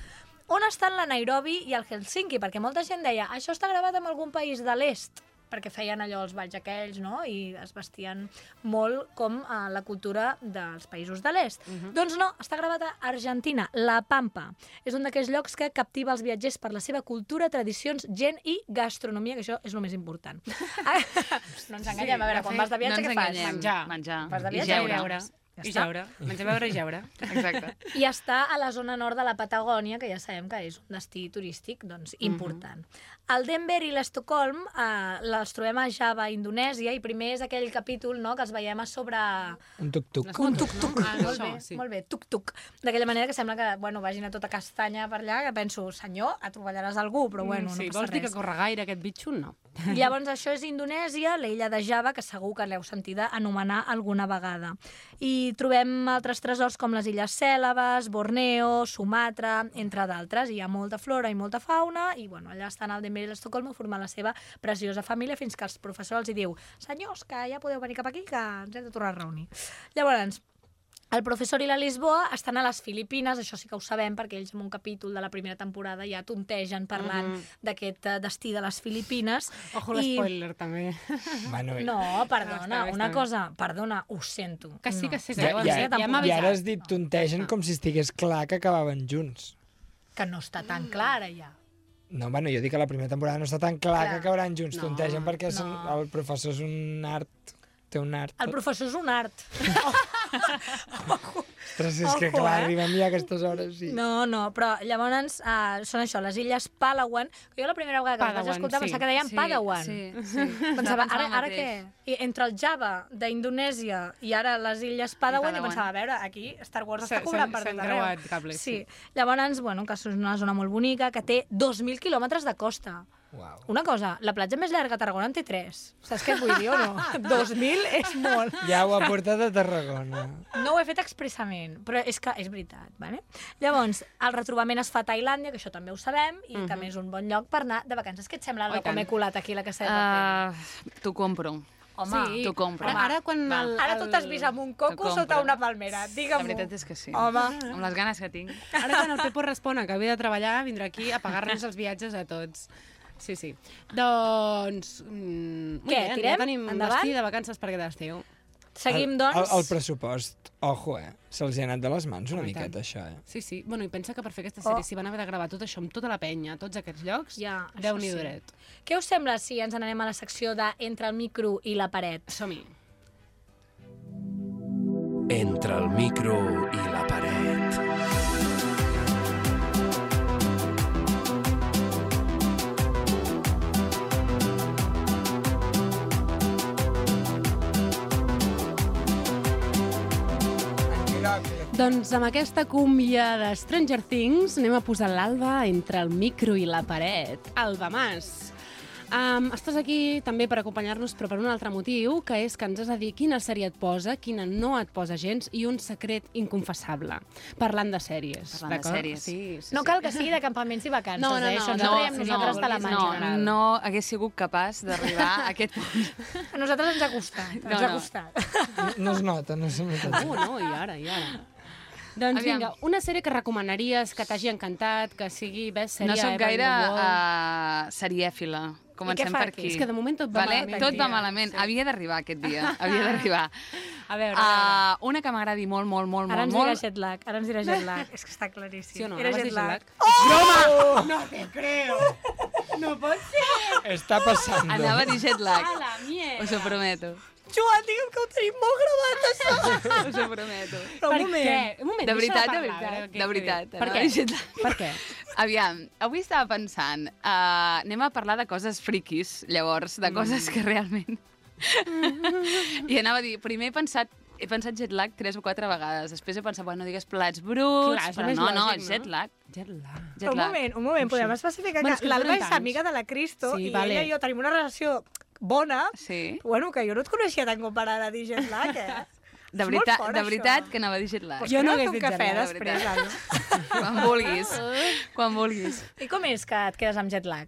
S7: On estan la Nairobi i el Helsinki? Perquè molta gent deia, això està gravat en algun país de l'est, perquè feien allò els balls aquells, no? I es vestien molt com a la cultura dels països de l'est. Doncs no, està gravat a Argentina, La Pampa. És un d'aquells llocs que captiva els viatgers per la seva cultura, tradicions, gent i gastronomia, que això és el més important. Ah, no ens enganyem, a veure, quan vas de viatge,
S3: no
S7: què
S3: ens
S7: fas?
S3: enganyem.
S8: Menjar.
S3: Menjar.
S7: Vas de
S3: I
S7: viatge?
S3: jeure.
S7: Veure.
S8: I jeure. Menjar, beure i jeure.
S3: Exacte.
S7: I està a la zona nord de la Patagònia, que ja sabem que és un destí turístic doncs,
S8: Mhm.
S7: important. El Denver i l'Estocolm eh, les trobem a Java, Indonèsia, i primer és aquell capítol no, que els veiem a sobre
S9: Un tuc-tuc.
S7: un tuc-tuc.
S8: Ah, no,
S7: molt,
S8: això,
S7: bé,
S8: sí.
S7: molt bé, tuc-tuc. D'aquella manera que sembla que bueno, vagin a tota castanya per allà, que penso, senyor, atrovellaràs algú, però bueno,
S8: Mm, sí,
S7: no passa
S8: vols dir
S7: res.
S8: que corre gaire aquest bitxo? No.
S7: I Llavors, això és Indonèsia, l'illa de Java, que segur que l'heu sentida anomenar alguna vegada. I trobem altres tresors com les illes Cèlabes, Borneo, Sumatra, entre d'altres. Hi ha molta flora i molta fauna, i bueno, allà estan al Denver i l'Estocolm formant la seva preciosa família fins que els professors els hi diu senyors, que ja podeu venir cap aquí, que ens hem de tornar a reunir. Llavors, el professor i la Lisboa estan a les Filipines, això sí que ho sabem, perquè ells en un capítol de la primera temporada ja tontegen parlant mm -hmm. d'aquest eh, destí de les Filipines.
S8: Mhm. Ojo l'espoiler, també.
S9: Bueno,
S7: I...
S9: i-
S7: No,
S8: Està
S7: perdona,
S8: bé, està
S7: una
S8: bé.
S7: cosa, perdona, ho sento.
S8: Que sí,
S7: no.
S8: que sí, que
S9: Ja,
S8: ho
S9: ja,
S8: ja, ja m'ha
S9: I ara
S8: avisat.
S9: has dit tontegen com si estigués clar que acabaven junts.
S7: Que no està tan clara ja.
S9: No, bueno, jo dic que la primera temporada no està tan clar,
S8: Clar.
S9: que acabaran junts,
S3: No,
S9: no, tontegen, perquè no.
S3: no.
S9: el professor és un art, té un art.
S7: El professor és un art.
S9: Ostres, és que
S7: Ojo,
S9: clar,
S7: eh?
S9: arribem ja a aquestes hores. Sí.
S7: No, no, però llavors uh, són això, les illes Palawan. que Jo la primera vegada que les
S8: Padawan,
S7: vaig escoltar
S8: sí.
S7: pensava que deien
S3: sí,
S7: Padawan.
S3: Sí, sí.
S7: Pensava, ara, ara què? I entre el Java d'Indonèsia i ara les illes Padawan,
S3: I
S7: jo
S3: Padawan.
S7: pensava, a veure, aquí Star Wars
S8: S'ha-
S7: està cobrant
S8: s'han-
S7: per
S8: s'han
S7: tot arreu.
S8: creuat cables,
S7: Sí.
S8: sí.
S7: Llavors, bueno, que és una zona molt bonica, que té 2.000 quilòmetres de costa.
S9: Uau.
S7: Una cosa, la platja més llarga a Tarragona en té 3. Saps què et vull dir o no? 2.000 és molt.
S9: Ja ho ha portat a Tarragona.
S7: No ho he fet expressament, però és que és veritat. Vale? Llavors, el retrobament es fa a Tailàndia, que això també ho sabem, i també és un bon lloc per anar de vacances. Què et sembla, Alba,
S3: Oh, i
S7: com
S3: Mhm. tant.
S7: he colat aquí la caseta? Uh...
S8: Ah,
S3: Uh, T'ho compro.
S7: Home,
S3: Sí. T'ho compro.
S8: Ara, ara quan
S3: Va.
S8: el,
S7: Ara
S8: el...
S7: tu t'has vist amb un coco
S3: T'ho
S7: sota
S3: compro.
S7: una palmera,
S3: La
S7: digue-m'ho.
S3: veritat és que sí.
S7: Home.
S3: Amb les ganes que tinc.
S8: Ara quan el Pepo respon que havia de treballar, vindrà aquí a pagar-nos els viatges a tots. Sí, sí. Doncs... Mm, molt
S7: Què,
S8: bé,
S7: tirem?
S8: Ja tenim
S7: Endavant?
S8: destí de vacances per aquest estiu.
S7: Seguim,
S9: El-
S7: doncs...
S9: El, el pressupost, ojo, eh? Se'ls hi ha anat de les mans una
S8: Home, i tant.
S9: miqueta, això, eh?
S8: Sí, sí. Bueno, i pensa que per fer aquesta sèrie oh. s'hi van haver de gravar tot això amb tota la penya, a tots aquests llocs,
S7: Ja, això
S8: déu nhi
S7: sí.
S8: sí.
S7: Què us sembla si ens n'anem a la secció de entre el micro i la paret?
S8: Som-hi.
S10: Entre el micro i la paret.
S8: Doncs amb aquesta cúmbia de Stranger Things anem a posar l'alba entre el micro i la paret. Alba Mas. Um, estàs aquí també per acompanyar-nos, però per un altre motiu, que és que ens has de dir quina sèrie et posa, quina no et posa gens i un secret inconfessable. Parlant de sèries.
S3: Parlant de
S8: d'acord?
S3: sèries.
S8: Sí, sí,
S7: No
S8: sí.
S7: cal que sigui de campaments i vacances,
S8: No, no,
S7: eh?
S8: no,
S7: Això ens
S8: no,
S7: ho traiem
S8: sí,
S7: nosaltres
S8: no,
S7: de la mà. en
S3: no,
S7: general.
S3: no hagués sigut capaç d'arribar a aquest punt.
S7: A nosaltres ens ha costat, ens
S3: No,
S7: ha
S3: no.
S7: costat.
S9: No, no es nota, no s'ha notat.
S8: Uh, no, i ara, i ara. Doncs
S3: Aviam.
S8: vinga, una sèrie que recomanaries, que t'hagi encantat, que sigui best sèrie...
S3: no sóc
S8: Evan
S3: gaire
S8: the Wall.
S3: uh, serièfila. Comencem
S7: fa
S3: per
S7: aquí?
S3: aquí.
S8: És que de moment tot va
S3: vale?
S8: malament,
S3: Tot va
S8: tia.
S3: malament.
S8: Sí. Ah.
S3: Sí. Havia d'arribar aquest dia. Havia d'arribar.
S8: A veure, a veure.
S3: Uh, una que m'agradi molt, molt, molt,
S7: Ara ens
S3: molt,
S7: dirà
S3: molt.
S7: jet lag, ara ens dirà jet lag. És que està claríssim.
S8: Sí o no?
S7: Era
S8: Abans de
S7: jet lag.
S9: Està passant.
S3: Anava a dir jet lag. Us ho prometo.
S7: Joan, digue'm que ho tenim molt gravat, això.
S3: Us ho prometo.
S7: Però
S8: per
S7: un moment.
S8: què? Un moment,
S3: De
S8: deixa-la
S3: veritat, de
S8: parlar, a veure
S3: veritat,
S8: què-
S3: de
S8: què
S3: veritat.
S8: diu.
S3: anava a dir jet lag.
S8: Per què?
S3: Aviam, avui estava pensant, uh, anem a parlar de coses friquis, llavors, de coses que realment... I anava a dir, primer he pensat he pensat jet lag tres o quatre vegades. Després he pensat, bueno, digues plats bruts,
S8: Clar, és
S3: però
S8: el més
S3: no, no,
S8: lògic,
S3: és
S8: no?
S3: jet lag.
S8: Jet lag.
S3: Jet
S7: Però un
S3: lag.
S7: moment, un moment, podem especificar
S8: Bueno, és
S7: que
S8: que
S7: l'Alba
S8: duren
S7: és
S8: tants.
S7: amiga de la Cristo
S8: Sí,
S7: i
S8: vale.
S7: ella i jo tenim una relació bona,
S3: Sí.
S7: bueno, que jo no et coneixia tant com per ara dir jet lag, eh?
S3: De
S7: És molt
S3: veritat,
S7: fort,
S3: de
S7: això.
S3: veritat que anava a dir jet lag.
S7: Pues
S8: Jo
S7: jo
S8: no
S7: no
S8: hagués
S7: un
S8: dit
S7: cafè
S8: jet lag,
S3: de
S7: després,
S3: veritat.
S7: Alba.
S3: Quan vulguis. Quan vulguis.
S7: I com és que et quedes amb jet lag?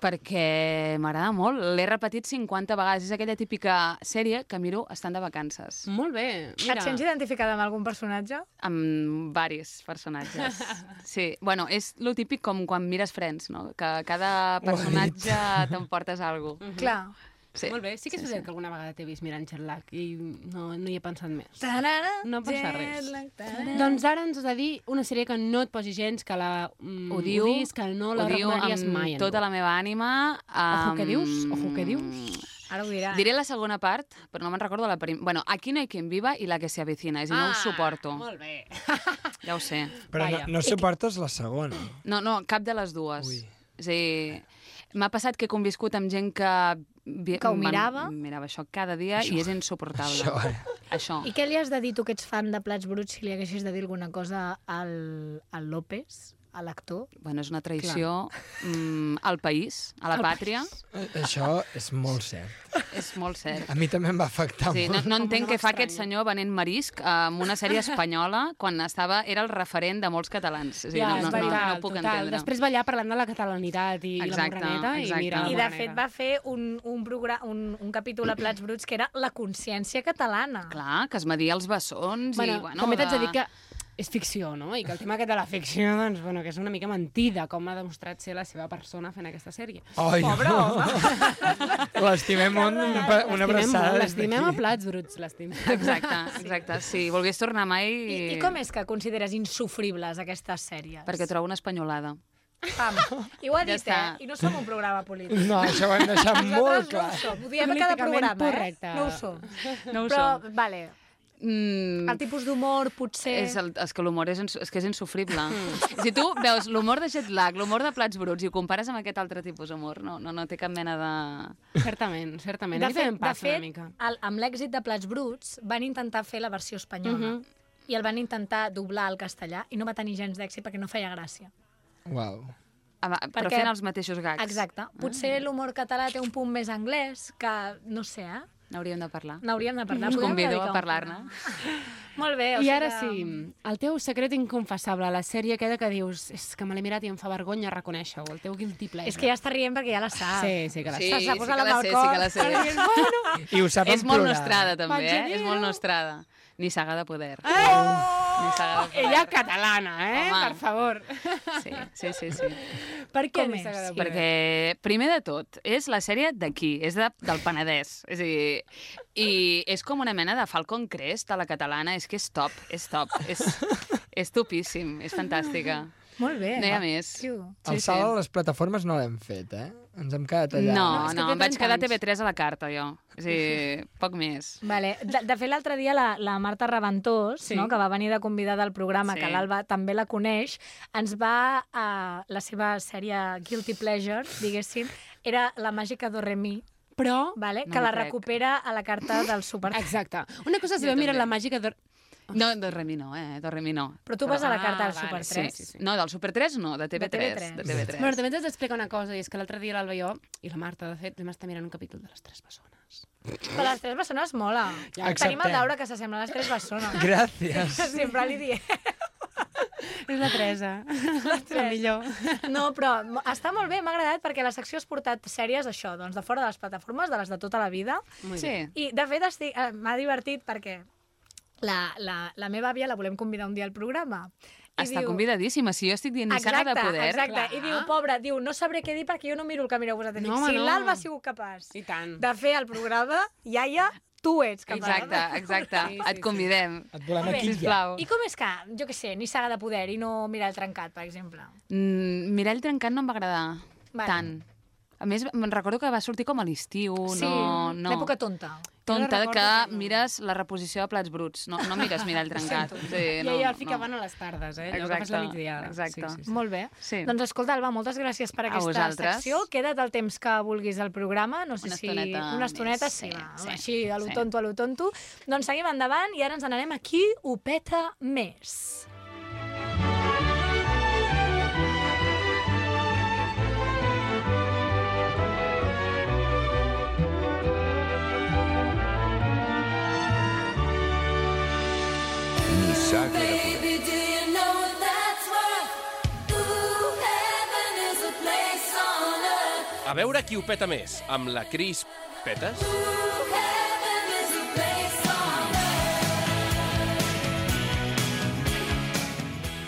S3: Perquè m'agrada molt. L'he repetit 50 vegades. És aquella típica sèrie que miro estant de vacances.
S8: Molt bé. Mira.
S7: Et sents identificada amb algun personatge?
S3: Amb varis personatges. Sí, bueno, és lo típic com quan mires Friends, no? Que cada personatge t'emportes algo.
S7: Clar.
S3: Sí.
S8: Molt bé, sí que és veritat que alguna vegada t'he vist mirant Jet lag i no, no hi he pensat més.
S7: Tarara,
S8: No passa
S7: jet
S8: res.
S7: lag, tarara.
S8: Doncs ara ens has de dir una sèrie que no et posi gens, que la mm,
S3: Odio,
S8: odis, que no la
S3: odio
S8: recomanaries
S3: amb
S8: mai. a
S3: tota la
S8: ningú.
S3: meva ànima. Amb...
S8: Ojo que dius, ojo que dius.
S7: Ara ho dirà.
S3: Diré la segona part, però no me'n recordo la primera. Bueno, Aquí no hay quien viva i la que se avecina, és a dir, no ho suporto.
S8: Ah, Molt bé.
S3: Ja ho sé.
S9: Però no,
S8: Vaja.
S9: no suportes la segona.
S3: No, no, cap de les dues.
S9: Ui.
S3: És a dir, m'ha passat que he conviscut amb gent que... vi-
S7: Que ho
S3: man-
S7: mirava.
S3: Mirava això cada dia això. i és insuportable.
S9: Això, eh?
S3: Això.
S7: I què li has de dir tu que ets fan de plats bruts si li haguessis de dir alguna cosa al, al López, a l'actor?
S3: Bueno, és una traïció mm, al país, a la pàtria.
S9: Eh, Això és molt cert.
S3: És molt cert.
S9: A mi també em va afectar
S3: Sí, no,
S9: molt.
S3: no entenc què fa aquest senyor venent marisc eh, amb una sèrie espanyola quan estava, era el referent de molts catalans. És a dir,
S8: Ja,
S3: no,
S8: és
S3: no, no,
S8: veritat,
S3: no puc
S8: total.
S3: entendre.
S8: Després ballar parlant de la catalanitat i
S3: Exacte,
S8: la morraneta
S3: exacte.
S8: i mira la
S7: I de
S8: morraneta.
S7: fet va fer un, un, progra- un, un capítol a Plats Bruts que era la consciència catalana.
S3: Clar, que es media els bessons
S8: Mm, Bueno,
S3: i... Bueno,
S8: també t'haig de dir que és ficció, no? I que el tema aquest de la ficció, doncs, bueno, que és una mica mentida, com ha demostrat ser la seva persona fent aquesta sèrie.
S9: Ai, Pobre home! L'estimem un, un- una
S8: L'estimem molt,
S9: abraçada des
S8: L'estimem a
S9: d'aquí.
S8: plats bruts, l'estimem.
S3: Exacte, exacte. Si volgués tornar mai...
S7: I, I com és que consideres insufribles aquestes sèries?
S3: Perquè trobo una espanyolada.
S7: Pam. I ho ha
S3: Ja
S7: dit,
S3: està.
S7: eh? I no som un programa polític.
S9: No, això ho hem deixat
S7: Nosaltres
S9: molt clar.
S7: no ho som. Ho diem a cada
S8: Políticament
S7: programa,
S8: correcte.
S7: eh? No ho som.
S3: No ho
S7: Però,
S3: som.
S7: vale,
S3: Mm,
S7: el tipus d'humor potser...
S3: és, el, és que l'humor és, ins- és que és insufrible. si tu veus l'humor de jet lag, l'humor de plats bruts i ho compares amb aquest altre tipus d'humor, no, no, no té cap mena de...
S8: Certament, certament. Aquí també em
S7: de
S8: passa
S7: fet,
S8: una mica.
S7: El, amb l'èxit de Plats Bruts van intentar fer la versió espanyola
S8: Mhm.
S7: i el van intentar doblar al castellà i no va tenir gens d'èxit perquè no feia gràcia.
S9: Uau.
S3: Ama- Però
S7: Perquè-
S3: fent els mateixos gags. Ah.
S7: Exacte. Potser l'humor català té un punt més anglès que, no sé, eh?
S3: N'hauríem de parlar.
S7: N'hauríem de parlar.
S3: Us
S7: Podríem
S3: convido
S7: dedicar
S3: a
S7: un
S3: parlar-ne.
S7: programa. Molt bé. O
S8: I
S7: sigui
S8: ara
S7: que-
S8: sí, el teu secret inconfessable, la sèrie aquella que dius és que me l'he mirat i em fa vergonya reconèixer-ho, el teu guilty pleasure. Ah.
S7: És que ja està rient perquè ja la sap.
S8: Sí, sí que la
S3: Sí,
S8: saps.
S7: S'ha
S3: sí
S7: posat
S3: que
S7: la
S3: la
S7: mà al
S3: sé, sí
S7: cor.
S3: que la sé.
S7: Està dient, Bueno,
S9: I ho sap
S3: És
S9: en
S3: molt
S9: plural.
S3: nostrada, també, eh?
S8: Manganero.
S3: És molt nostrada. Ni saga de poder. Ni saga de poder.
S8: Ella catalana, eh?
S3: Home.
S8: Per favor.
S3: Sí, sí, sí. sí.
S8: Per què
S7: Com
S8: li
S7: és?
S8: s'agrada
S7: Sí.
S8: Perquè...
S3: Perquè, primer de tot, és la sèrie d'aquí, és de, del Penedès. És a dir, i és com una mena de Falcon Crest a la catalana, és que és top, és top, és, és topíssim, és fantàstica.
S7: Molt bé.
S3: No hi ha més. Oh,
S7: Tio.
S9: El
S3: Sí,
S9: salt
S3: sí.
S9: a les plataformes no l'hem fet, eh? Ens hem quedat allà.
S3: No,
S8: és que
S3: no,
S8: té
S3: em vaig
S8: 30
S3: quedar a
S8: anys.
S3: TV3 a la carta, jo. És a dir, poc més.
S7: Vale. De, de fet, l'altre dia la, la Marta Raventós,
S8: Sí.
S7: sí. no, que va venir de convidada al programa,
S3: Sí.
S7: sí. que l'Alba també la coneix, ens va, a la seva sèrie Guilty Pleasure, diguéssim, era La màgica d'Oremí,
S8: Però...
S7: vale?
S3: No
S7: que
S3: m'ho
S7: la
S3: crec.
S7: recupera a la carta del súper.
S8: Exacte. Una cosa és
S3: Jo
S8: haver mirat
S3: també.
S8: la màgica de...
S3: No, del Remi no, eh? Del Remi no.
S7: Però tu vas a la
S8: Ah,
S7: carta del
S8: vale,
S7: Super
S8: sí,
S7: 3.
S8: sí, sí.
S3: No, del Super 3 no, de TV3.
S7: TV3.
S3: De TV3.
S8: Bueno, també t'haig d'explicar una cosa, i és que l'altre dia l'Alba i jo, i la Marta, de fet, vam estar mirant un capítol de les Tres Bessones.
S7: Però les tres bessones mola.
S9: Ja,
S7: Tenim
S9: acceptem.
S7: el Daura que s'assembla a les tres bessones.
S9: Gràcies.
S7: Sempre li diem.
S8: És la Teresa, la,
S7: Teresa.
S8: millor.
S7: No, però mo- està molt bé, m'ha agradat, perquè la secció has portat sèries, això, doncs de fora de les plataformes, de les de tota la vida,
S8: Molt
S3: Sí.
S7: I, de fet, estic- eh, m'ha divertit perquè la, la, la meva àvia la volem convidar un dia al programa. I
S3: Està convidadíssima. Si jo estic dient ni saga de
S7: Exacte,
S3: poder...
S7: exacte.
S8: clar.
S7: I diu, pobra, diu, no sabré què dir perquè jo no miro el que mireu vosaltres.
S8: No,
S7: No,
S8: home,
S7: si
S8: no.
S7: l'Alba ha sigut capaç
S8: I tant.
S7: de fer el programa, iaia, tu ets capaç.
S3: Exacte, exacte.
S8: Sí,
S3: Sí,
S8: sí,
S3: sí, Et convidem.
S9: Et volem
S7: Molt bé.
S9: aquí ja.
S3: Sisplau.
S7: I com és que, jo que sé, ni saga de poder i no mirar el trencat, per exemple?
S3: Mm, Mirall trencat no em va agradar
S7: Vale.
S3: vale. tant. A més, me'n recordo que va sortir com a l'estiu, no... no.
S7: l'època tonta.
S3: tonta
S8: Jo la recordo
S3: que
S8: que no.
S3: mires la reposició de plats bruts. No, no mires Mirall trencat. Sí,
S8: I
S3: no,
S8: ella el
S3: no.
S8: ficaven a les tardes, eh? Allò que fas la
S3: Exacte,
S8: migdiada.
S3: exacte.
S8: Sí, sí, sí.
S7: Molt bé.
S3: Sí.
S7: Doncs escolta, Alba, moltes gràcies per
S3: A
S7: aquesta
S3: vosaltres.
S7: secció. Queda't el temps que vulguis al programa. No sé
S3: Una
S7: si...
S3: estoneta
S7: Una estoneta,
S3: més,
S7: sí,
S3: sí,
S7: va.
S3: sí,
S7: Així, a lo
S3: sí.
S7: tonto, a lo tonto. Doncs seguim endavant i ara ens n'anem aquí, ho peta més.
S2: A veure qui ho peta més, amb la Cris Petes?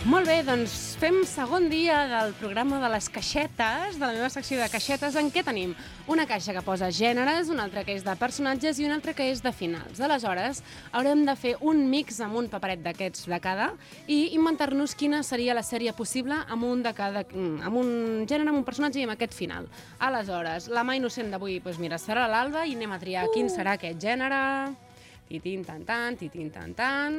S8: Molt bé, doncs fem segon dia del programa de les caixetes, de la meva secció de caixetes, en què tenim una caixa que posa gèneres, una altra que és de personatges i una altra que és de finals. Aleshores, haurem de fer un mix amb un paperet d'aquests de cada i inventar-nos quina seria la sèrie possible amb un, de cada, mm, amb un gènere, amb un personatge i amb aquest final. Aleshores, la mà innocent d'avui, doncs mira, serà l'Alba i anem a triar quin serà aquest gènere... Titin, tan, tan, titin, tan, tan...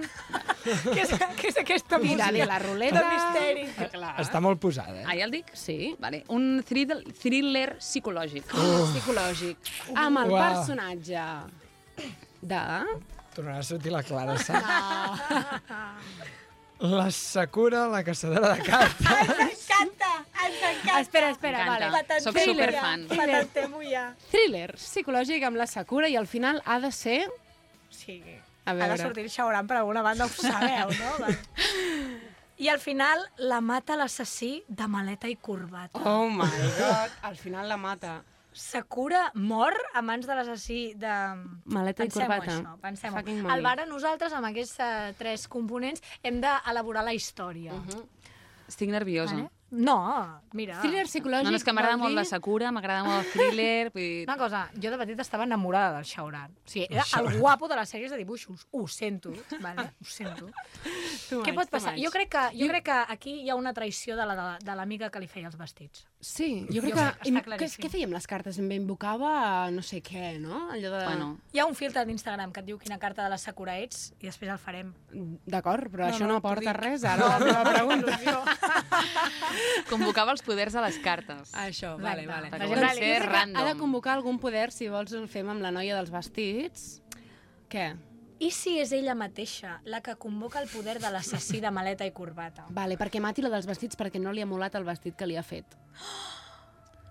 S7: què, és, què és aquesta
S8: Tirar de la ruleta...
S7: De misteri.
S8: Ah, Clar.
S9: Està molt posada, eh?
S3: Ah, ja el dic?
S8: Sí. Oh.
S3: Vale. Un thriller, thriller psicològic.
S8: Ah, psicològic amb el
S9: Uau.
S8: personatge de...
S9: Tornarà a sortir la Clara Sá. La Sakura, la caçadora de cartes.
S7: Canta! Ens encanta! Espera, espera,
S3: M'encanta.
S7: vale.
S3: Soc
S7: Patentem-ho
S3: superfan.
S7: ja, Patentem-ho ja.
S8: Thriller psicològic amb la Sakura i al final ha de ser...
S7: Sí.
S8: A
S7: Ha
S8: veure.
S7: de sortir el Xauran per alguna banda, ho sabeu, no? Va. I al final la mata l'assassí de maleta i corbata.
S8: Oh my god, al final la mata.
S7: Sakura mor a mans de l'assassí de...
S8: Maleta i
S7: Pensem-ho,
S8: corbata.
S7: Això, pensem-ho.
S8: Fucking money.
S7: Al bar, nosaltres, amb
S8: Mhm.
S7: aquests eh, tres components, hem d'elaborar la història.
S3: Estic nerviosa.
S7: Vale. No, mira...
S8: Thriller psicològic...
S3: No, no, és que m'agrada
S8: vol
S3: molt
S8: dir-
S3: la Sakura, m'agrada molt el thriller, vull dir...
S7: Una cosa, jo de petita estava enamorada del Shauran. O sigui, era
S9: Shauran.
S7: el guapo de les sèries de dibuixos. Ho sento, vale? ho sento.
S8: Too
S7: Què
S8: much,
S7: pot
S8: too
S7: passar?
S8: much.
S7: Jo crec, que, jo crec que aquí hi ha una traïció de la- de la- de l'amiga que li feia els vestits.
S8: Sí, jo crec
S7: Jo-
S8: que...
S7: està
S8: Im- Què,
S7: claríssim.
S8: què feia amb les cartes? Em invocava no sé què, no? Allò de...
S3: Bueno,
S7: Hi ha un filtre d'Instagram que et diu quina carta de la Sakura ets i després el farem.
S8: D'acord, però
S7: No,
S8: això
S7: no,
S8: no
S7: t'ho
S8: aporta
S7: dic.
S8: res ara a la meva pregunta.
S3: convocava els poders a les cartes.
S7: Ah,
S8: Això,
S7: vale, vale.
S3: Perquè
S7: Doncs
S3: volen
S7: jo
S3: ser
S7: crec
S8: Ha de
S3: random.
S8: convocar algun poder, si vols el fem amb la noia dels vestits. Què?
S7: I si és ella mateixa la que convoca el poder de l'assassí de maleta i corbata?
S8: Vale, perquè mati la dels vestits perquè no li ha molat el vestit que li ha fet.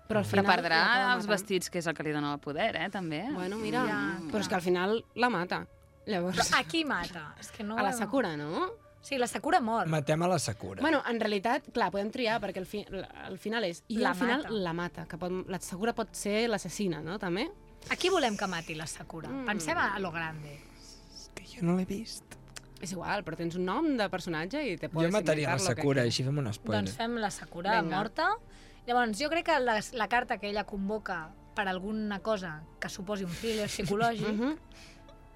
S8: Però al final...
S3: Reprendrà
S8: l'acaba
S3: els
S8: matant.
S3: vestits, que és el que li dona el poder, eh, també.
S8: Bueno, mira,
S7: Ja,
S8: però és que al final la mata. Llavors,
S7: A qui mata? És que no...
S8: a la Sakura, no?
S7: Sí, la Sakura mor.
S9: Matem a la Sakura.
S8: Bueno, en realitat, clar, podem triar, perquè el, fi, el final és... I
S7: La
S8: al final
S7: mata.
S8: la mata, que pot, la Sakura pot ser l'assassina, no?, també?
S7: A qui volem que mati la Sakura?
S8: Mm.
S7: Pensem a lo grande.
S9: que jo no l'he vist.
S8: És igual, però tens un nom de personatge i te pots
S9: Jo mataria la
S8: inventar lo que
S9: Sakura,
S8: quieras.
S9: així fem un spoiler.
S7: Doncs fem la Sakura
S8: Vinga.
S7: morta. Llavors, jo crec que la, la carta que ella convoca per alguna cosa que suposi un thriller psicològic
S8: Mhm.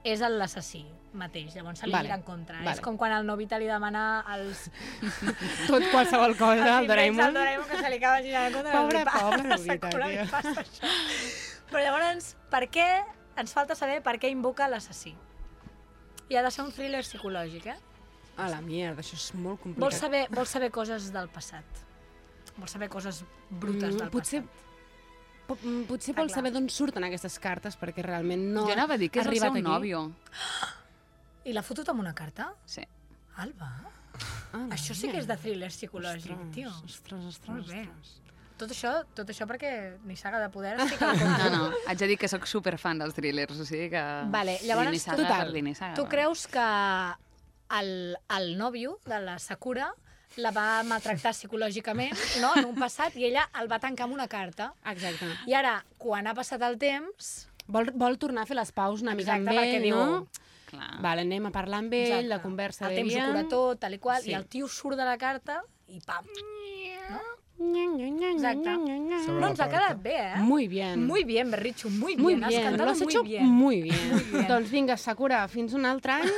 S7: és el l'assassí mateix. Llavors, se li
S8: Vale.
S7: gira en contra.
S8: Vale.
S7: És com quan el Novita li demana als...
S8: Tot qualsevol cosa, el
S7: El
S8: Doraemon.
S7: Doraemon que se li acaba girant en contra.
S8: Pobre,
S7: li passa-
S8: pobre
S7: la
S8: Nobita,
S7: Sakura li
S8: tio.
S7: passa això. Però llavors, per què... Ens falta saber per què invoca l'assassí. I ha de ser un thriller psicològic, eh?
S8: A la mierda, això és molt complicat.
S7: Vol saber, vol saber coses del passat. Vol saber coses brutes
S8: Mm,
S7: mm, del
S8: potser-
S7: passat.
S8: Po- mm, Potser
S7: Està
S8: vol
S7: clar.
S8: saber d'on surten aquestes cartes, perquè realment no...
S3: Jo anava a dir que és el
S8: Arribat
S3: seu
S8: aquí.
S3: nòvio.
S7: I l'ha fotut amb una carta?
S3: Sí.
S7: Alba,
S8: Ah, la
S7: això sí que és de thriller psicològic,
S8: Ostres,
S7: tio.
S8: Ostres, ostres,
S7: Molt bé.
S8: ostres.
S7: Tot això, tot això perquè Nissaga de Poder sí que la
S3: No,
S7: compro.
S3: Ah, no, haig de dir que sóc superfan dels thrillers, o sigui que...
S7: Vale, llavors,
S3: L'Inisaga
S8: total,
S3: per l'Inisaga,
S7: Tu
S3: va.
S7: creus que el, el nòvio de la Sakura la va maltractar psicològicament no? en un passat i ella el va tancar amb una carta.
S8: Exacte.
S7: I ara, quan ha passat el temps...
S8: Vol, vol tornar a fer les paus una mica
S7: Exacte,
S8: amb
S7: perquè
S8: ell,
S7: diu-
S8: no?
S3: Clar.
S8: Vale, anem a parlar amb ell,
S7: Exacte.
S8: la conversa
S7: eh, El temps ho
S8: diríem.
S7: cura tot, tal i qual,
S8: Sí.
S7: i el tio surt de la carta i pam.
S8: Exacte.
S9: Sobre
S7: No,
S9: la
S7: ens ha
S9: porta.
S7: quedat bé, eh?
S8: Muy bien.
S7: Muy bien, Berricho, muy bien.
S8: Muy
S7: Has
S8: bien, lo
S7: cantado
S8: has
S7: muy
S8: hecho
S7: bien.
S8: muy bien. Doncs vinga, Sakura, fins un altre any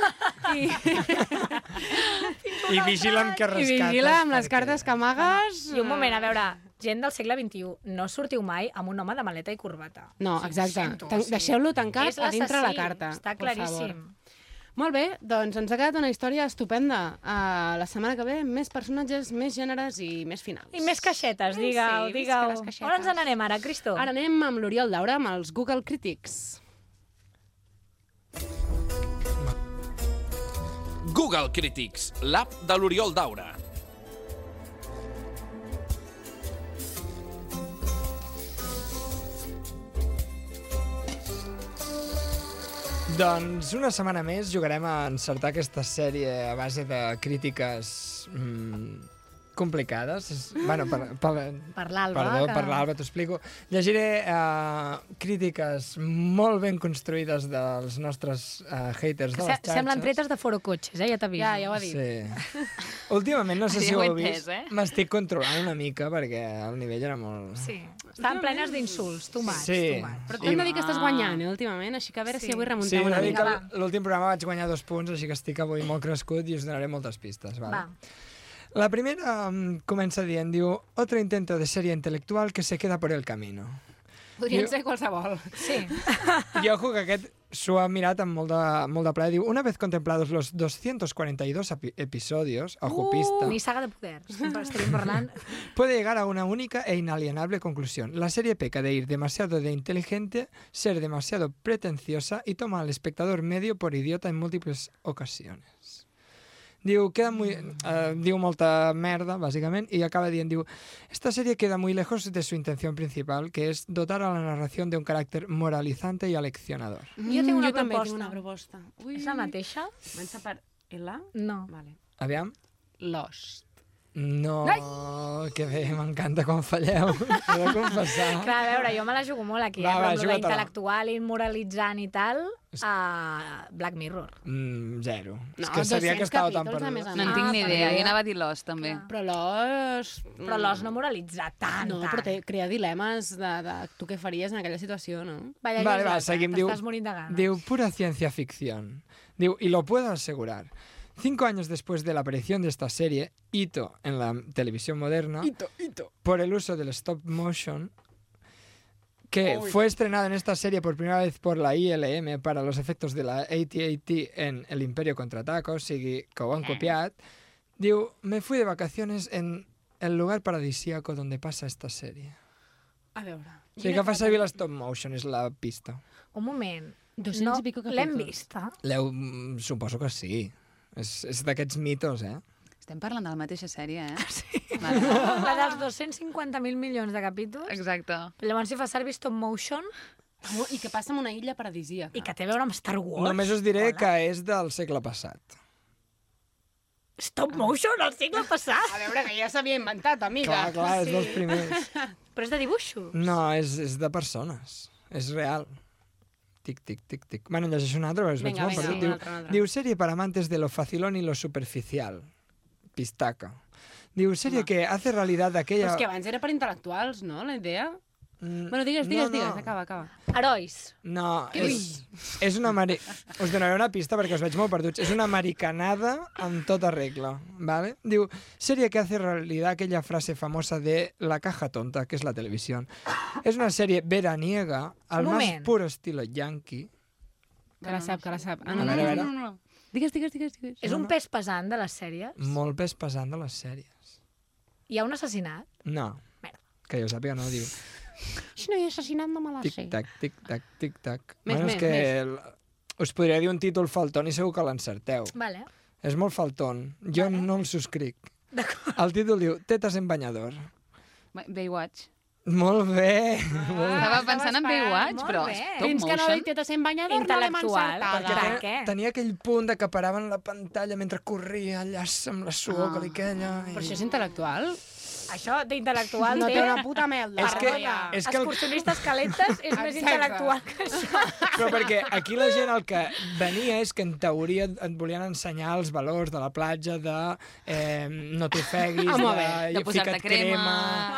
S8: i,
S9: I vigila amb que
S8: i
S9: rescates.
S8: vigila amb les
S9: perquè-
S8: cartes que amagues.
S7: I un moment, a veure, gent del segle XXI, no sortiu mai amb un home de maleta i corbata.
S8: No,
S7: Sí,
S8: exacte.
S7: ho sento,
S8: Tan-
S7: o sigui,
S8: Deixeu-lo tancat
S7: és
S8: a dintre la
S7: l'assassí,
S8: carta,
S7: Està
S8: por favor.
S7: claríssim.
S8: Molt bé, doncs ens ha quedat una història estupenda. Uh, la setmana que ve, més personatges, més gèneres i més finals.
S7: I més caixetes,
S8: Sí,
S7: digue-ho,
S8: sí, visca
S7: digue-ho.
S8: les caixetes.
S7: On ens n'anem ara, Cristo?
S8: Ara anem amb l'Oriol Daura, amb els Google Critics.
S2: Google Critics, l'app de l'Oriol Daura.
S9: Doncs una setmana més jugarem a encertar aquesta sèrie a base de crítiques mm, complicades. És, bueno, per, per,
S7: Per l'Alba.
S9: perdó,
S7: que...
S9: per l'Alba t'ho explico. Llegiré eh, crítiques molt ben construïdes dels nostres eh, haters
S7: que
S9: de
S7: se-
S9: les xarxes.
S7: Semblen tretes de foro cotxes, eh? ja t'aviso.
S8: Ja, ja ho ha dit.
S9: Sí. Últimament, no sé si
S3: Ja
S9: ho
S3: ho he
S9: heu
S3: entès,
S9: vist,
S3: eh?
S9: m'estic controlant una mica perquè el nivell era molt...
S7: Sí. Estan plenes d'insults, tu mats,
S9: Sí.
S7: tu mats.
S8: Però
S9: I-
S8: t'hem de dir que estàs guanyant, eh, últimament, així que a veure
S7: Ah.
S8: si
S7: Sí.
S8: avui
S9: Sí,
S8: remuntem
S9: una
S8: una
S9: dic que
S8: mica.
S7: va.
S9: l'últim programa vaig guanyar dos punts, així que estic avui molt crescut i us donaré moltes pistes. Vale?
S7: Va.
S9: La primera um, comienza bien, digo, otro intento de serie intelectual que se queda por el camino.
S8: Podrien
S9: Jo-
S8: ser qualsevol.
S7: Sí.
S9: I ojo que aquest s'ho ha mirat amb molt de, molt de plaer. Diu, una vez contemplados los 242 epi- episodios, ojo pista,
S7: Ni saga de poder. Sempre estem parlant...
S9: puede llegar a una única e inalienable conclusión. La serie peca de ir demasiado de inteligente, ser demasiado pretenciosa y toma al espectador medio por idiota en múltiples ocasiones. Diu, queda muy,
S8: Mm.
S9: eh, diu molta merda, básicamente, y acaba dient, diu, esta serie queda muy lejos de su intención principal, que es dotar a la narración de un carácter moralizante y aleccionador.
S7: Jo tinc una
S8: Mm, jo també
S7: proposta.
S8: tinc una proposta. Ui.
S7: És la mateixa?
S8: Comença per L?
S7: No.
S8: Vale.
S9: Aviam.
S8: Lost.
S9: No, que bé, m'encanta quan falleu. He de confessar.
S7: Clar, a veure, jo me la jugo molt aquí,
S9: Va,
S7: eh?
S9: va,
S7: Però amb lo
S9: juga-te-la.
S7: d'intel·lectual i moralitzant i tal, a Black Mirror.
S9: Mm, zero.
S8: No,
S9: és que sabia
S8: 200
S9: que estava tan
S8: capítols, a més
S9: perduda.
S8: a
S3: No en
S8: Ah,
S3: tinc ni
S8: per
S3: idea.
S8: Déu.
S3: Jo anava a dir l'os, també.
S8: Però l'os... ah,
S7: Però l'os no moralitza tant,
S8: Mm. No,
S7: tant.
S8: però té, crea dilemes de, de tu què faries en aquella situació, no?
S7: Vaya
S9: Vale, va,
S7: lloseta,
S9: seguim, diu-
S7: T'estàs morint de gana.
S9: Diu pura ciencia ficción. Diu, y lo puedo asegurar. Cinco años después de la aparición de esta serie, hito en la televisión moderna, por el uso del stop motion, que fue estrenado en esta serie por primera vez por la ILM para los efectos de la AT&T en El Imperio Contraataco, sigui que ho han copiat, diu, me fui de vacaciones en el lugar paradisíaco donde pasa esta serie.
S8: A veure...
S9: O sigui que fa servir l'stop motion, és la pista.
S7: Un moment.
S8: 200
S7: no,
S8: i pico
S7: L'hem
S8: capítols.
S7: vist, eh?
S9: Leu, mm, suposo que sí. És, és d'aquests mitos, eh?
S3: Estem parlant de la mateixa sèrie, eh? Sí.
S7: La dels 250.000 milions de capítols.
S3: Exacte.
S7: Llavors s'hi fa servir stop motion
S8: Oh, I què passa amb una illa paradisíaca?
S7: i que té a veure amb Star Wars.
S9: Només us diré Hola. que és del segle passat.
S7: Stop motion al segle passat!
S8: A veure, que ja s'havia inventat, amiga.
S9: Clar, clar, és dels primers.
S7: Però és de dibuixos.
S9: No, és, és de persones. És real. Tic, tic, tic, tic. Bueno, llegeixo un altre, però us veig
S8: Vinga,
S9: molt
S8: vinga, un
S9: perdut. Diu,
S8: altre, un altre.
S9: diu, sèrie para amantes de lo facilón y lo superficial. Pistaca. Diu, sèrie que hace realidad
S8: Però
S9: aquella...
S8: és que abans era per intel·lectuals, no, la idea?
S9: Mm,
S8: Bueno, digues, digues,
S9: no,
S8: digues,
S9: no.
S8: acaba, acaba.
S7: Herois.
S9: No, és, és una... Mari... Us donaré una pista perquè us veig molt perduts. És una americanada amb tota regla, ¿vale? Diu, sèrie que hace realidad aquella frase famosa de la caja tonta, que és la televisió. És una sèrie veraniega, al
S7: Un
S9: más
S7: moment.
S9: puro estilo yankee.
S8: Que la sap, que la sap. Ah,
S9: A
S8: no, no,
S9: veure, a
S8: no,
S9: veure.
S8: no, no, no. Digues, digues, digues. digues.
S7: És un pes pesant de les sèries.
S9: Molt pes pesant de les sèries.
S7: Hi ha un assassinat.
S9: No.
S7: Merda.
S9: Que jo sàpiga, no, diu.
S8: Si no hi ha assassinat, no me la sé.
S9: Tic-tac, tic-tac, tic-tac.
S8: Més,
S9: Bueno, és
S8: més,
S9: que l- Us podria dir un títol faltón i segur que l'encerteu.
S7: Vale.
S9: És molt faltón. Jo no el subscric.
S7: D'acord.
S9: El títol diu Tetes en banyador.
S3: Ba- Baywatch.
S9: Molt bé.
S8: Ah,
S3: Estava pensant en Baywatch,
S7: molt
S3: però
S7: bé.
S3: stop
S8: Fins que no
S3: motion.
S8: hi tetes en banyador, no l'hem
S7: Intel·lectual,
S8: encertada.
S7: perquè-
S9: Tenia-
S7: què?
S9: Tenia aquell punt de que paraven la pantalla mentre corria allà amb la suor que li queia.
S8: Però això és intel·lectual?
S7: Això d'intel·lectual
S8: No
S7: té...
S8: té una puta merda.
S9: És que-
S8: perdona.
S9: és que el-
S7: Excursionistes calentes és més
S8: Exacte.
S7: intel·lectual que això.
S9: Però perquè aquí la gent el que venia és que en teoria et, et volien ensenyar els valors de la platja, de eh, no t'ofeguis,
S8: Home,
S9: de,
S8: bé,
S3: De posar-te
S9: fica't crema,
S3: crema.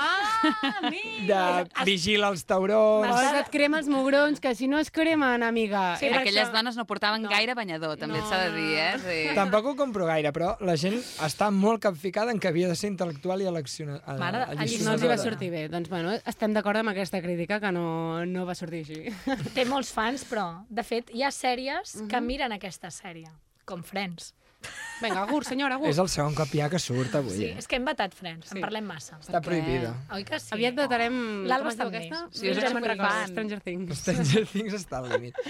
S7: Ah, mi!
S9: de vigila els taurons...
S8: Posa't crema els mugrons, que si no es cremen, amiga.
S7: Sí,
S8: Era
S3: Aquelles
S8: això.
S3: dones no portaven gaire banyador, també et s'ha de dir, eh? Sí.
S9: Tampoc ho compro gaire, però la gent està molt capficada en que havia de ser intel·lectual i elecciona... eh,
S7: Mare, allí
S8: I no els hi va sortir bé. Doncs, bueno, estem d'acord amb aquesta crítica que no, no va sortir així.
S7: Té molts fans, però, de fet, hi ha sèries que miren aquesta sèrie, com Friends.
S8: Vinga, agur, senyora, agur.
S9: És el segon cop ja que surt avui.
S7: Sí,
S9: eh?
S7: és que hem vetat Friends,
S8: Sí.
S7: en parlem massa.
S9: Està prohibida.
S7: Oi que sí?
S8: Aviat datarem... com
S7: L'Alba
S8: es diu
S7: també.
S8: aquesta?
S7: Sí,
S3: és
S8: ja me'n
S3: Stranger
S8: recordo,
S3: Things.
S8: Stranger Things.
S9: Stranger Things està al límit.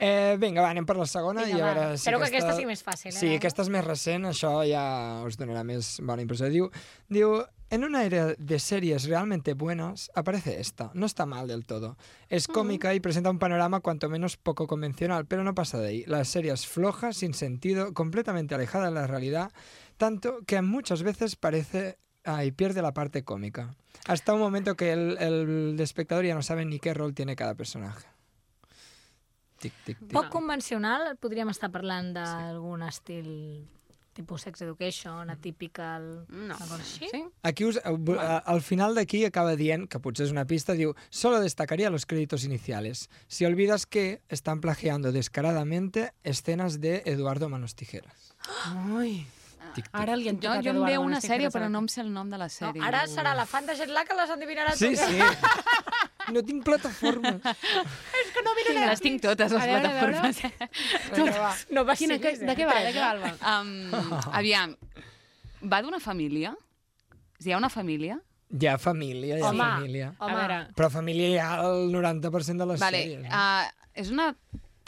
S9: Eh, vinga, va, anem per la segona
S7: Vinga,
S9: i a
S7: va.
S9: veure si
S7: Espero que aquesta sigui més fàcil, eh,
S9: Sí,
S7: Laura?
S9: aquesta és més recent, això ja us donarà més bona impressió. Diu, diu En una era de series realmente buenas aparece esta. No está mal del todo. Es cómica y presenta un panorama cuanto menos poco convencional, pero no pasa de ahí. La serie es floja, sin sentido, completamente alejada de la realidad, tanto que muchas veces parece ah, y pierde la parte cómica. Hasta un momento que el, el espectador ya no sabe ni qué rol tiene cada personaje. Tic, tic, tic.
S7: Poc convencional, podríem estar parlant d'algun estil tipus Sex
S9: Mm.
S7: Education, atypical...
S3: No.
S7: una cosa així.
S8: Sí?
S9: Aquí us, a- al final d'aquí acaba dient, que potser és una pista, diu, solo destacaría los créditos iniciales. Si olvidas que están plagiando descaradamente escenas de Eduardo Manos Tijeras.
S8: Ai,
S9: Tic, tic.
S8: ara li han
S3: Jo,
S8: tocat
S3: jo em
S8: Eduardo,
S3: veu una
S8: estic
S3: sèrie,
S8: cansada.
S3: però no em sé el nom de la
S7: No,
S3: sèrie.
S7: ara serà la fan de Gerlà que les endivinarà
S9: Sí,
S7: totes.
S9: sí. No tinc plataforma.
S3: Les tinc totes, les
S8: A veure, a veure.
S3: plataformes.
S7: No va
S8: Quina, que, de què va, de què va, Alba?
S3: Um, aviam, va d'una família? És a dir, Hi ha una família?
S9: Hi ha família, hi ha
S7: Home.
S9: família.
S8: A
S7: Home,
S8: veure,
S9: Però família hi ha el 90% de les
S3: Vale,
S9: sèries. no?
S3: uh, és una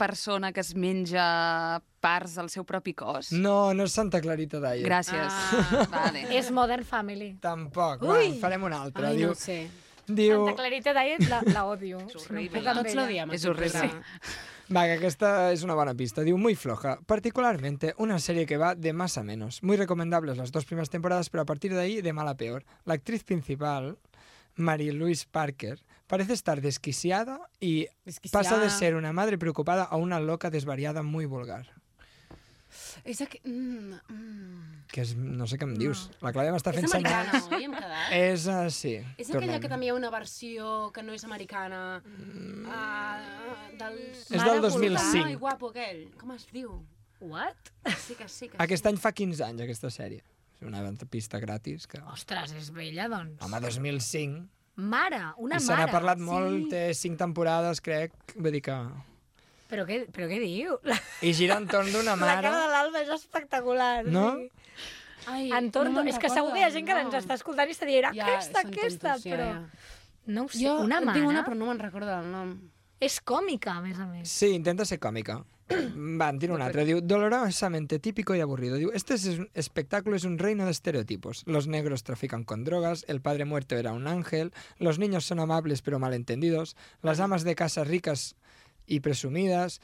S3: persona que es menja parts del seu propi cos?
S9: No, no és Santa Clarita d'ahir.
S3: Gràcies.
S8: Ah.
S3: Vale.
S7: és Modern Family.
S9: Tampoc. Va,
S7: Ui!
S9: en farem una altra.
S8: ai,
S9: diu,
S8: no ho sé.
S9: Diu...
S7: Santa Clarita Diet la, la odio. És
S3: horrible.
S8: Tots l'odiem.
S3: És
S8: aquest
S3: horrible.
S8: programa.
S9: Va, que aquesta es una buena pista. Digo, muy floja. Particularmente una serie que va de más a menos. Muy recomendables las dos primeras temporadas, pero a partir de ahí de mal a peor. La actriz principal, Mary Louise Parker, parece estar desquiciada y
S8: Desquiciada.
S9: pasa de ser una madre preocupada a una loca desvariada muy vulgar.
S8: És aqu... Mm, mm.
S9: Que es, no sé qué me dius. La Clàudia m'està
S8: És
S9: fent
S8: americana,
S9: senyals.
S8: oi? Hem quedat.
S9: És, eh, sí.
S8: És aquella
S9: tornem.
S8: que també hi ha una versió que no és americana. Mm. Uh, dels...
S9: És
S8: Mare
S9: del 2005.
S8: Vulgar, Ai, guapo aquell. Com es diu?
S7: What?
S8: Sí que sí que
S9: Aquest any fa 15 anys, aquesta sèrie. És una pista gratis. Que...
S7: Ostres, és vella, doncs.
S9: Home, 2005.
S7: Mare, una
S9: I se n'ha
S7: mare.
S9: parlat molt, té cinc temporades, crec. Vull dir que...
S7: Però què, però què diu? La,
S9: I gira entorn d'una
S7: la cara de
S9: mare.
S7: l'Alba és espectacular.
S9: No?
S7: Sí.
S8: sí. Ai,
S7: Entorn,
S8: me'n
S7: és que segur que hi ha gent que ens està escoltant i se dirà
S8: Ja,
S7: aquesta,
S8: són
S7: aquesta,
S8: tontos, ja,
S7: però...
S8: ja.
S7: No ho sé,
S8: Jo
S7: una mare
S8: tinc una, però no me'n recordo el nom.
S7: és còmica, a més a més.
S9: Sí, intenta ser còmica. Va, en tira un altre. Diu, dolorosamente típico y aburrido. Diu, este es un- espectáculo es un reino de estereotipos. Los negros trafican con drogas, el padre muerto era un ángel, los niños son amables pero malentendidos, las amas de casa ricas y presumidas,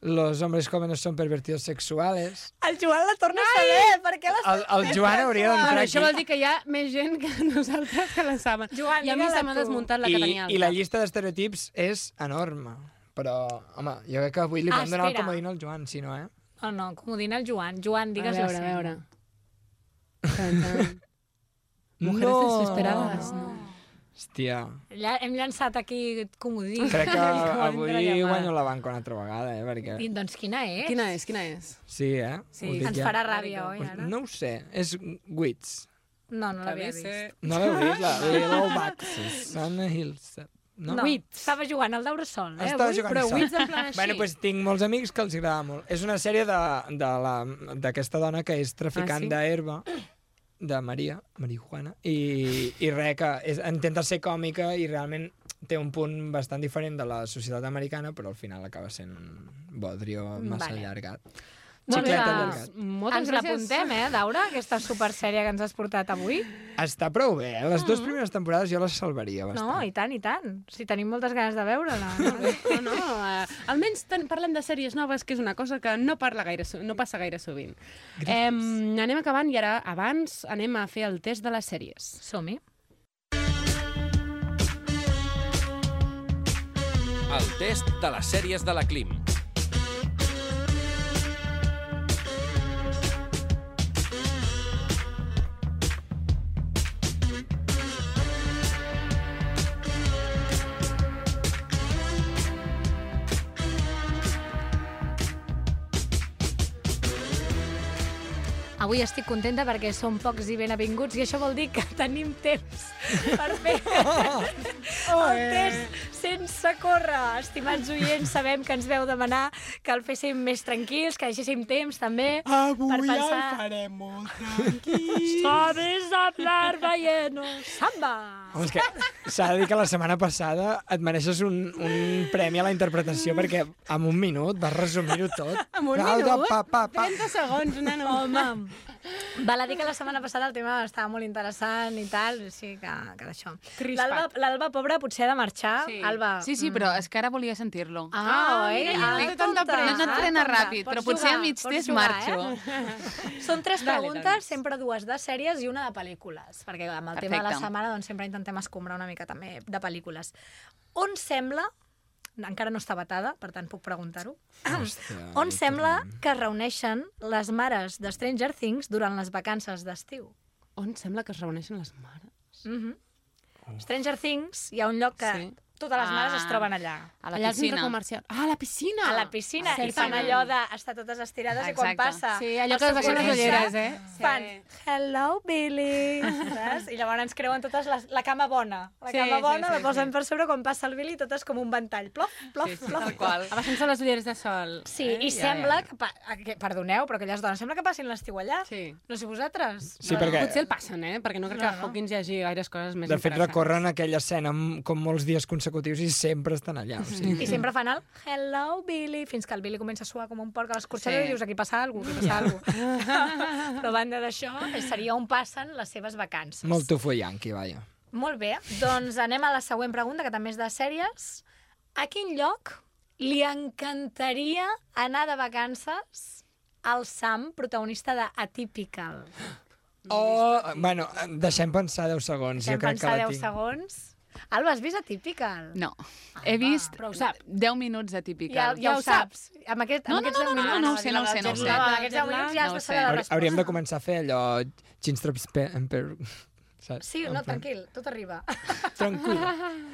S9: los hombres jóvenes son pervertidos sexuales...
S7: El Joan la torna a saber, per què la...
S9: El, el Joan
S8: Ah,
S9: hauria
S8: Però
S9: d'entrar
S8: això vol
S9: aquí.
S8: dir que hi ha més gent que nosaltres que la saben.
S7: Joan,
S8: I a mi
S7: digue-la
S8: se m'ha
S7: tu.
S8: desmuntat la que
S9: I,
S8: tenia. al
S9: I la
S8: cap.
S9: llista d'estereotips és enorme. Però, home, jo crec que avui li
S7: Ah,
S9: vam donar el
S7: espera.
S9: comodín al Joan, si no, eh?
S7: Oh, no, comodina el Joan. Joan,
S8: A
S7: digues
S8: veure, a
S7: la
S8: veure. Tan, tan. Mujeres desesperadas.
S7: No.
S9: Hòstia,
S7: Lla hem llançat aquí comodí.
S9: crec que
S7: Com dintre la
S9: avui
S7: llamada.
S9: guanyo la banca una altra vegada, eh?
S7: I,
S9: Perquè...
S7: doncs quina és?
S8: Quina és, quina és?
S9: Sí, eh? Ho dic
S7: Ens
S9: ja.
S7: farà ràbia, oi,
S9: Us-
S7: ara?
S9: No ho sé, és Wits.
S7: No, no l'havia vist.
S9: No l'heu vist? La Little Bugs, Susanna Hills. No?
S7: No, estava jugant al Daurosol, eh?
S9: Estava
S7: avui?
S9: jugant
S8: Però
S9: sol.
S8: Wits en plan així.
S9: Bueno, pues tinc molts amics que els agrada molt. És una sèrie de- de la- d'aquesta dona que és traficant
S8: Ah, sí?
S9: d'herba, de Maria, marihuana, i, i res, que és, intenta ser còmica i realment té un punt bastant diferent de la societat americana, però al final acaba sent un bodrio massa
S7: Vale.
S9: vale. allargat.
S7: Doncs,
S9: Xiclet
S7: eh,
S9: allargat.
S8: Moltes
S7: ens
S8: gràcies.
S7: l'apuntem, eh, Daura, aquesta supersèrie que ens has portat avui.
S9: Està prou bé, eh? Les
S8: Mm.
S9: dues primeres temporades jo les salvaria
S7: No,
S9: bastant.
S7: i tant, i tant. Si tenim moltes ganes de veure-la.
S8: No, no, eh, almenys ten, parlem de sèries noves, que és una cosa que no, parla gaire, so- no passa gaire sovint. Eh, anem acabant i ara, abans, anem a fer el test de les sèries.
S7: Som-hi.
S2: El test de les sèries de la Clim.
S7: Avui estic contenta perquè som pocs i benvinguts i això vol dir que tenim temps per fer el test sense córrer. Estimats oients, sabem que ens veu demanar que el féssim més tranquils, que deixéssim temps també Avui per pensar... el farem molt tranquils. Sabes hablar balleno. Samba!
S9: Home, és que s'ha de dir que la setmana passada et mereixes un, un premi a la interpretació perquè en un minut vas resumir-ho tot.
S8: En un
S9: Pau, de
S8: minut?
S9: Pa, pa, pa.
S8: 30 segons, nano.
S7: Home, val a dir que la setmana passada el tema estava molt interessant i tal, així que, que d'això.
S8: Crispat.
S7: L'Alba, l'Alba, pobra, potser ha de marxar. Sí. Alba,
S3: Sí, sí, però és que ara volia sentir-lo.
S7: Ah, oi?
S8: mira, ja no té
S7: tonta.
S8: tanta pressa.
S3: No, no et frena ràpid, però
S7: Ah, Pots
S3: potser a
S7: jugar,
S3: mig
S7: pots
S3: temps
S7: jugar,
S3: marxo.
S7: Eh? Són tres
S8: Dale,
S7: preguntes,
S8: doncs.
S7: sempre dues de sèries i una de pel·lícules, perquè amb el Perfecte. tema de la
S3: Perfecte.
S7: setmana doncs, sempre intentem escombrar una mica també de pel·lícules. On sembla, encara no està vetada, per tant puc preguntar-ho,
S9: Hòstia,
S7: on sembla que es reuneixen les mares de Stranger Things durant les vacances d'estiu?
S8: On sembla que es reuneixen les mares?
S3: Mm-hmm.
S7: Mhm. Stranger Things, hi ha un lloc que
S8: Sí.
S7: totes les mares
S3: Ah.
S7: es troben allà.
S3: A la
S8: Allà al centre
S3: piscina.
S8: comercial. Ah, a la piscina!
S7: a la piscina i fan
S8: Certament.
S7: allò d'estar totes estirades i quan
S3: Exacte.
S7: passa...
S8: Sí, allò
S7: el
S8: que es baixen les
S7: socorrista,
S8: ulleres, eh?
S7: Fan, hello, Billy, saps? I llavors ens creuen totes les, la cama bona. La
S8: Sí,
S7: cama
S8: sí,
S7: bona
S8: sí,
S7: la posen
S8: sí.
S7: per sobre, quan passa el Billy, totes com un ventall. Plof, plof,
S3: Sí, sí,
S7: plof,
S3: tal
S7: plof.
S3: qual.
S8: Abaixant-se les ulleres de sol.
S7: Sí,
S8: eh?
S7: i
S8: Ja,
S7: sembla
S8: ja.
S7: que, pa... a- que... Perdoneu, però aquelles dones, sembla que passin l'estiu allà.
S8: Sí.
S7: No sé vosaltres.
S9: Sí,
S7: no,
S9: perquè-
S8: Potser el passen, eh? Perquè no crec
S7: No,
S8: que a
S7: no.
S8: Hawkins hi hagi gaires coses més
S9: De fet,
S8: interessants.
S9: recorren aquella escena amb- com molts dies consecutius i sempre estan allà. O sigui.
S7: I sempre fan el hello, Billy, fins que el Billy comença a suar com un porc a l'escorxador
S3: Sí.
S7: i dius aquí passa alguna cosa, aquí passa alguna cosa. Però a banda d'això, seria on passen les seves vacances.
S9: Molt tufo yankee, vaja.
S7: Molt bé, doncs anem a la següent pregunta, que també és de sèries. A quin lloc li encantaria anar de vacances al Sam, protagonista de Atypical?
S9: Oh, bueno, deixem pensar 10 segons.
S7: Hem
S9: jo crec que
S7: pensat
S9: la
S7: 10
S9: tinc.
S7: segons. Alba, has vist Atypical?
S3: No.
S8: Ah,
S3: He vist
S7: però ho sap.
S3: 10 minuts de
S7: Ja,
S3: típica.
S7: ja, ho saps. Amb aquest,
S3: No,
S7: amb
S3: no,
S7: aquests
S3: no, no,
S7: 10
S3: no,
S7: minuts,
S3: no ho sé, no ho sé, no ho sé.
S7: Amb aquests 10 minuts ja has
S3: No ho
S7: de
S3: sé.
S7: saber la
S3: Hauri-
S9: Hauri-
S7: resposta.
S9: Hauríem de començar a fer allò... Ginstraps pe... Emper... Saps?
S7: Sí,
S9: En
S7: no,
S9: plan,
S7: tranquil, tot arriba.
S9: Tranquil.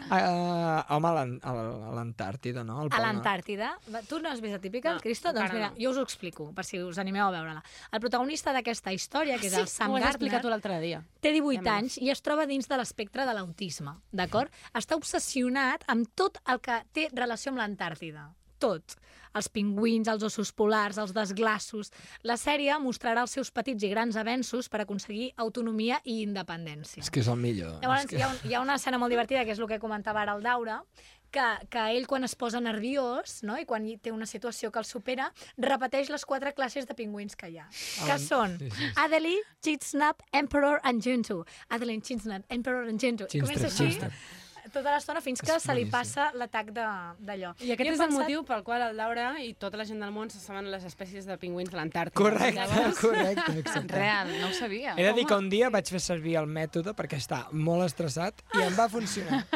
S9: Ah, ah, home, a l'An- a l- a l'Antàrtida, no? Al
S7: A
S9: Pol Nord.
S7: l'Antàrtida. Va, Tu no has vist Atypical,
S8: No,
S7: no, Cristo? Doncs
S8: encara
S7: mira,
S8: no.
S7: jo us ho explico, per si us animeu a veure-la. El protagonista d'aquesta història, que és el Sam
S8: ho has
S7: Gardner,
S8: explicat tu l'altre dia.
S7: Té 18 anys i es troba dins de l'espectre de l'autisme, d'acord? Està obsessionat amb tot el que té relació amb l'Antàrtida. Tot. Els pingüins, els ossos polars, els desglassos... La sèrie mostrarà els seus petits i grans avenços per aconseguir autonomia i independència.
S9: És que és el millor.
S7: Llavors,
S9: és
S7: hi ha, un, hi ha una escena molt divertida, que és el que comentava ara el Daura, que, que ell, quan es posa nerviós no? i quan hi té una situació que el supera, repeteix les quatre classes de pingüins que hi ha, que
S9: Ah,
S7: són
S9: sí, sí, sí.
S7: Adeline, Chitsnap, Emperor and Gentoo. Adeline, Chitsnap, Emperor and Gentoo. I Comença
S9: Chinstrap,
S7: així
S9: chinstrap.
S7: tota l'estona fins que
S9: És
S7: se li
S9: boníssim.
S7: passa l'atac de- d'allò.
S8: I aquest
S7: Jo he
S8: és el
S7: pensat-
S8: motiu pel qual el Laura i tota la gent del món se saben les espècies de pingüins de l'Antàrtida.
S9: Correcte,
S8: Llavors,
S9: correcte, exacte.
S3: Real, no ho sabia.
S9: He de dir que un dia vaig fer servir el mètode perquè està molt estressat i em va funcionar.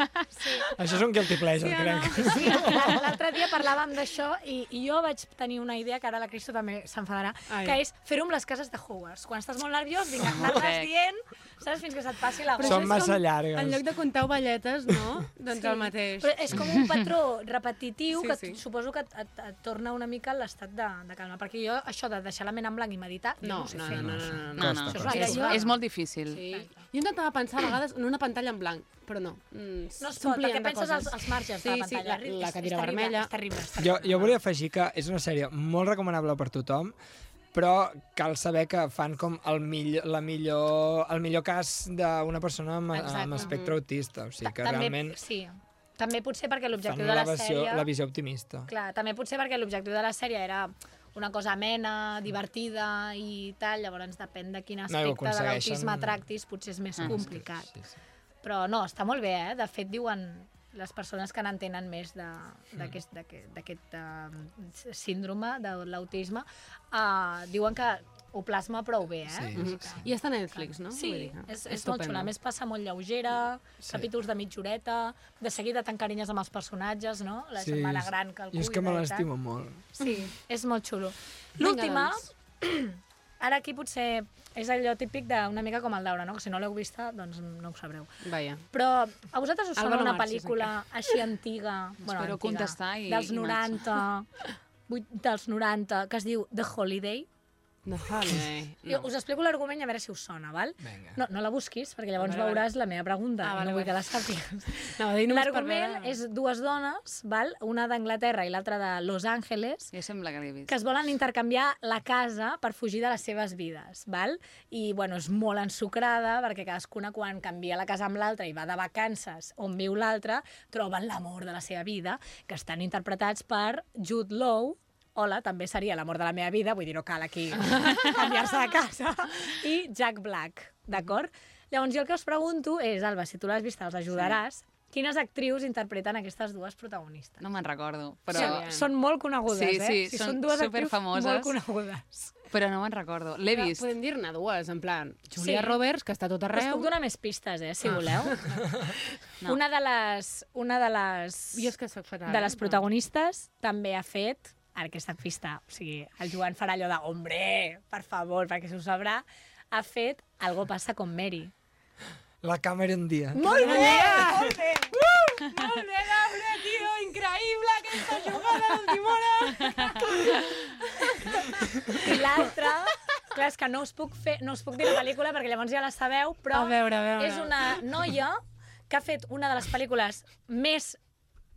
S9: Això és un guilty pleasure, crec.
S7: Sí, l'altre dia parlàvem d'això i, i jo vaig tenir una idea, que ara la Cristo també s'enfadarà,
S8: Ai. Oh,
S7: que és fer-ho amb les cases de Hogwarts. Quan estàs molt nerviós, vinga, anar-les
S3: Correcte.
S7: dient, saps, fins que se't passi la
S8: Però
S7: boca.
S9: Són
S8: això és
S9: massa
S8: com-
S9: llargues.
S8: En lloc de contar ovelletes, no? Doncs
S7: Sí,
S8: el mateix.
S7: Però eh, és com un patró
S8: Sí,
S7: repetitiu sí, que
S8: sí.
S7: sí. suposo que et, et, et torna una mica a l'estat de, de calma. Perquè jo, això de deixar la ment en blanc i meditar, jo
S8: No,
S7: no ho sé
S8: no,
S7: fer.
S8: no, no, no, no, no.
S3: No, no,
S9: Costa,
S7: costa.
S3: és,
S7: Sí.
S3: és molt difícil.
S8: Sí. Jo intentava pensar a vegades en una pantalla en blanc, però no. Mm,
S7: No es pot,
S8: s'omplien
S7: perquè
S8: de
S7: penses als,
S8: coses.
S7: als marges de la
S8: Sí, sí,
S7: pantalla.
S8: la,
S7: És-
S8: la
S7: és
S8: cadira
S7: terrible,
S8: vermella.
S7: És terrible, és
S9: Jo,
S7: terrible.
S9: jo volia afegir que és una sèrie molt recomanable per tothom, però cal saber que fan com el millor, la millor, el millor cas d'una persona amb,
S7: Exacte. Mm-hmm.
S9: amb espectre autista. O sigui que
S7: Ta-
S9: realment
S7: Sí, també potser perquè
S9: fan
S7: l'objectiu de
S9: la
S7: la
S9: visió,
S7: sèrie...
S9: la visió optimista.
S7: Clar, també potser perquè l'objectiu de la sèrie era una cosa amena, divertida i tal, llavors depèn de quin
S9: Mm. No, i
S7: aspecte no, de
S9: ho aconsegueixen-
S7: l'autisme tractis, potser és més ah, complicat.
S9: Sí, sí.
S7: Però no, està molt bé, eh? De fet, diuen les persones que n'entenen més de-
S9: Mm.
S7: d'aquest d'aquest- d'aquest, eh, síndrome de l'autisme, eh, diuen que ho plasma prou bé, eh?
S9: Sí,
S7: O sigui
S9: sí,
S7: que-
S8: I està a Netflix, no?
S7: Sí,
S8: Vull dir que
S7: és, és molt
S8: estupendo.
S7: xula. A més, passa molt lleugera,
S9: Sí.
S7: sí. capítols de mitja horeta, de seguida t'encarinyes amb els personatges, no? La
S9: Sí,
S7: sí, germana
S9: és-
S7: gran que el
S9: Jo
S7: cuida
S9: és que me
S7: i tal.
S9: l'estimo molt.
S7: Sí, és molt xulo.
S8: Vinga,
S7: L'última,
S8: doncs.
S7: ara aquí potser és allò típic d'una mica com el Daura, no? Que si no l'heu vista, doncs no ho sabreu.
S8: Vaja.
S7: Però a vosaltres us
S8: Alba
S7: sona
S8: no
S7: una
S8: marxis,
S7: pel·lícula així antiga, bueno,
S3: Espero
S7: antiga,
S3: contestar i-
S7: dels
S3: i marxo.
S7: 90, vuit- dels 90, que es diu The Holiday.
S8: No, vale.
S7: No. Jo us explico l'argument i a veure si us sona, val?
S9: Vinga.
S7: No, no la busquis, perquè llavors
S8: Vale, vale.
S7: veuràs la meva pregunta
S8: Ah,
S7: ah,
S8: vale,
S7: vale, i no
S8: vale.
S7: vull que la sàpigues.
S8: Anava a dir només per veure...
S7: L'argument és dues dones, val? una d'Anglaterra i l'altra de Los Angeles,
S3: Jo sembla que l'he vist.
S7: que es volen intercanviar la casa per fugir de les seves vides, val? I, bueno, és molt ensucrada, perquè cadascuna quan canvia la casa amb l'altra i va de vacances on viu l'altra, troben l'amor de la seva vida, que estan interpretats per Jude Law, Hola, també seria l'amor de la meva vida, vull dir, no cal aquí canviar-se de casa, i Jack Black, d'acord? Llavors, jo el que us pregunto és, Alba, si tu l'has vist, els ajudaràs, quines actrius interpreten aquestes dues protagonistes?
S3: No me'n recordo, però,
S7: Però... Són, són molt
S3: Sí,
S7: conegudes,
S3: sí,
S7: eh?
S3: són
S7: dues
S3: superfamoses.
S7: actrius Molt conegudes.
S3: però no me'n recordo. L'he
S8: Però
S3: vist.
S8: Podem dir-ne dues, en plan, Julia
S7: Sí.
S8: Roberts, que està a tot
S7: Us
S8: arreu...
S7: puc donar més pistes, eh, si voleu.
S3: No.
S7: No. Una de les, una de les,
S8: Jo és que soc fatal.
S7: de les protagonistes també ha fet ara aquesta pista, o sigui, el Joan farà allò de hombre, per favor, perquè si ho sabrà, ha fet Algo passa con Mary.
S9: La Cameron Diaz.
S7: Molt bé! Molt bé! Uh! Molt bé, Laura, tio! Increïble aquesta jugada d'última hora! I l'altra... Clar, és que no us, puc fer, no us puc dir la pel·lícula perquè llavors ja la sabeu,
S8: A
S7: però
S8: veure, a veure.
S7: és una noia que ha fet una de les pel·lícules més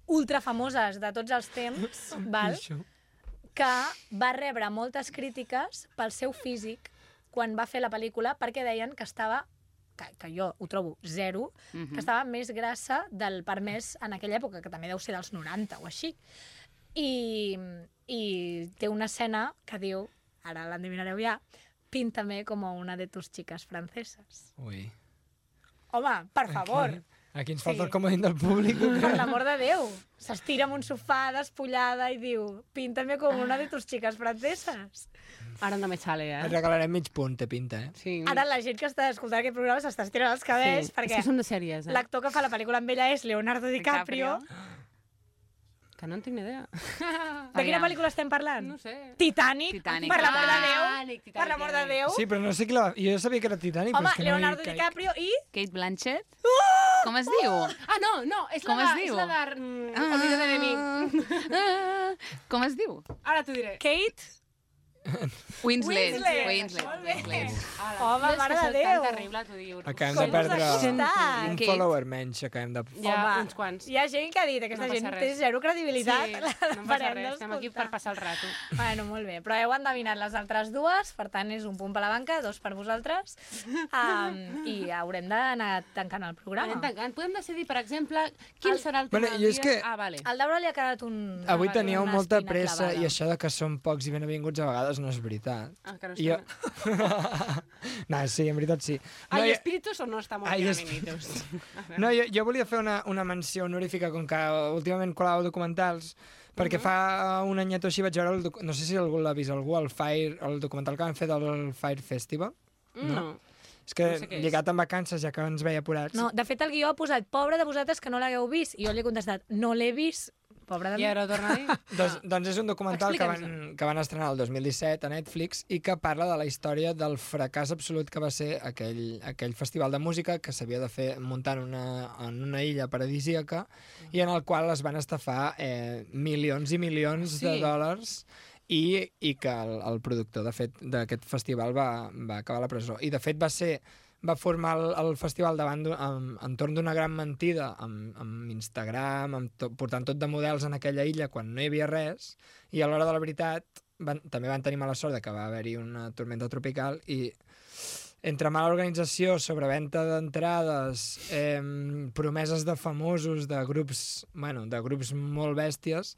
S7: ultrafamoses de tots els temps, val?
S9: Pixo.
S7: que va rebre moltes crítiques pel seu físic quan va fer la pel·lícula perquè deien que estava que, que jo ho trobo zero, uh -huh. que estava més grassa del permès en aquella època, que també deu ser dels 90 o així. I, i té una escena que diu, ara l'endevinareu ja, píntame como una de tus chicas franceses.
S9: Ui.
S7: Home, per favor.
S9: Aquí ens falta
S7: Sí.
S9: el comodín del públic. jo
S7: Per
S9: crec.
S7: l'amor de Déu. S'estira en un sofà despullada i diu «Píntame com una de tus chicas francesas».
S8: Ara no me sale,
S9: Et
S8: eh?
S9: regalarem mig punt, te pinta, eh?
S8: Sí.
S7: Ara la gent que està escoltant aquest programa s'està estirant els cabells sí. perquè
S8: És que són de sèries, eh?
S7: l'actor que fa la pel·lícula amb ella és Leonardo DiCaprio.
S8: Que no en tinc ni idea.
S7: De quina
S3: Aviam.
S7: pel·lícula estem parlant?
S8: No sé. Ah,
S7: Titanic,
S3: Titanic.
S7: per l'amor de Déu.
S8: Titanic, Titanic,
S7: per l'amor de
S8: Titanic.
S7: Déu.
S9: Sí, però no sé qui la... Jo sabia que era Titanic,
S7: Home,
S9: però és que
S7: Leonardo
S9: no hi caic.
S7: DiCaprio i...
S3: Kate Blanchett? Com es diu?
S8: Ah, no, no, és
S3: Com
S8: la,
S3: es
S8: de,
S3: diu?
S8: és la de... Mm, Olvídate de mi.
S3: Ah, Com es diu?
S8: Ara t'ho diré.
S7: Kate?
S3: Winslet.
S7: Winslet.
S3: Winslet.
S7: Molt bé.
S3: Winslet.
S7: Home, mare de
S8: És que
S7: Déu.
S8: tan terrible, t'ho diu.
S9: Acabem
S7: Com
S9: de
S7: us
S9: perdre
S7: ha costat?
S9: un
S3: Kate.
S9: follower menys, acabem de...
S8: Ja,
S7: Home,
S8: uns quants.
S7: Hi ha gent que ha dit aquesta
S8: No passa
S7: gent
S8: res.
S7: té zero credibilitat.
S8: Sí,
S7: la
S8: no em passa
S7: parem
S8: res, estem aquí per
S7: d'escoltar.
S8: passar el rato.
S7: Bueno, molt bé, però heu endevinat les altres dues, per tant és un punt per la banca, dos per vosaltres, um, i haurem d'anar tancant el
S8: Anem
S7: programa.
S8: tancant. Podem decidir, per exemple, quin
S7: El-
S8: serà el
S9: Bueno,
S8: tema del
S9: jo és
S8: dia?
S9: que-
S8: Ah, vale.
S7: Al Daura li ha quedat un...
S9: Avui
S7: una-
S9: teníeu
S7: una
S9: molta
S7: espina
S9: pressa
S7: clavada.
S9: i això de que són pocs i benvinguts a vegades no és veritat.
S8: Ah, que no
S9: Jo...
S8: estem-
S9: no, sí, en veritat sí.
S7: Ah,
S9: No,
S8: Hay
S9: jo-
S8: espíritus o no estamos
S9: Hay
S8: bien
S9: esp-
S8: amiguitos?
S9: No, jo, jo volia fer una, una menció honorífica, com que últimament colau documentals, perquè fa eh, un anyet o així vaig veure, el docu- no sé si algú l'ha vist, algú, el, Fire, el documental que van fer del Fire Festival.
S8: No.
S9: És que
S8: No sé què és.
S9: lligat amb vacances, ja que ens veia apurats.
S7: No, de fet el guió ha posat pobre de vosaltres que no l'hagueu vist, i jo li he contestat no l'he vist, pobre de
S8: I
S7: mi.
S8: ara ho torna a dir?
S9: Doncs, doncs és un documental que van,
S8: Explica'ns-ho.
S9: que van estrenar el 2017 a Netflix i que parla de la història del fracàs absolut que va ser aquell, aquell festival de música que s'havia de fer muntant una, en una illa paradisíaca i en el qual es van estafar eh, milions i milions sí. de
S8: Sí.
S9: dòlars i, i que el, el productor de fet d'aquest festival va, va acabar a la presó. I de fet va ser va formar el, el festival davant d'un- amb- entorn d'una gran mentida amb, amb Instagram, amb tot, portant tot de models en aquella illa quan no hi havia res i a l'hora de la veritat van, també van tenir mala sort de que va haver-hi una tormenta tropical i entre mala organització, sobreventa d'entrades, eh, promeses de famosos, de grups, bueno, de grups molt bèsties,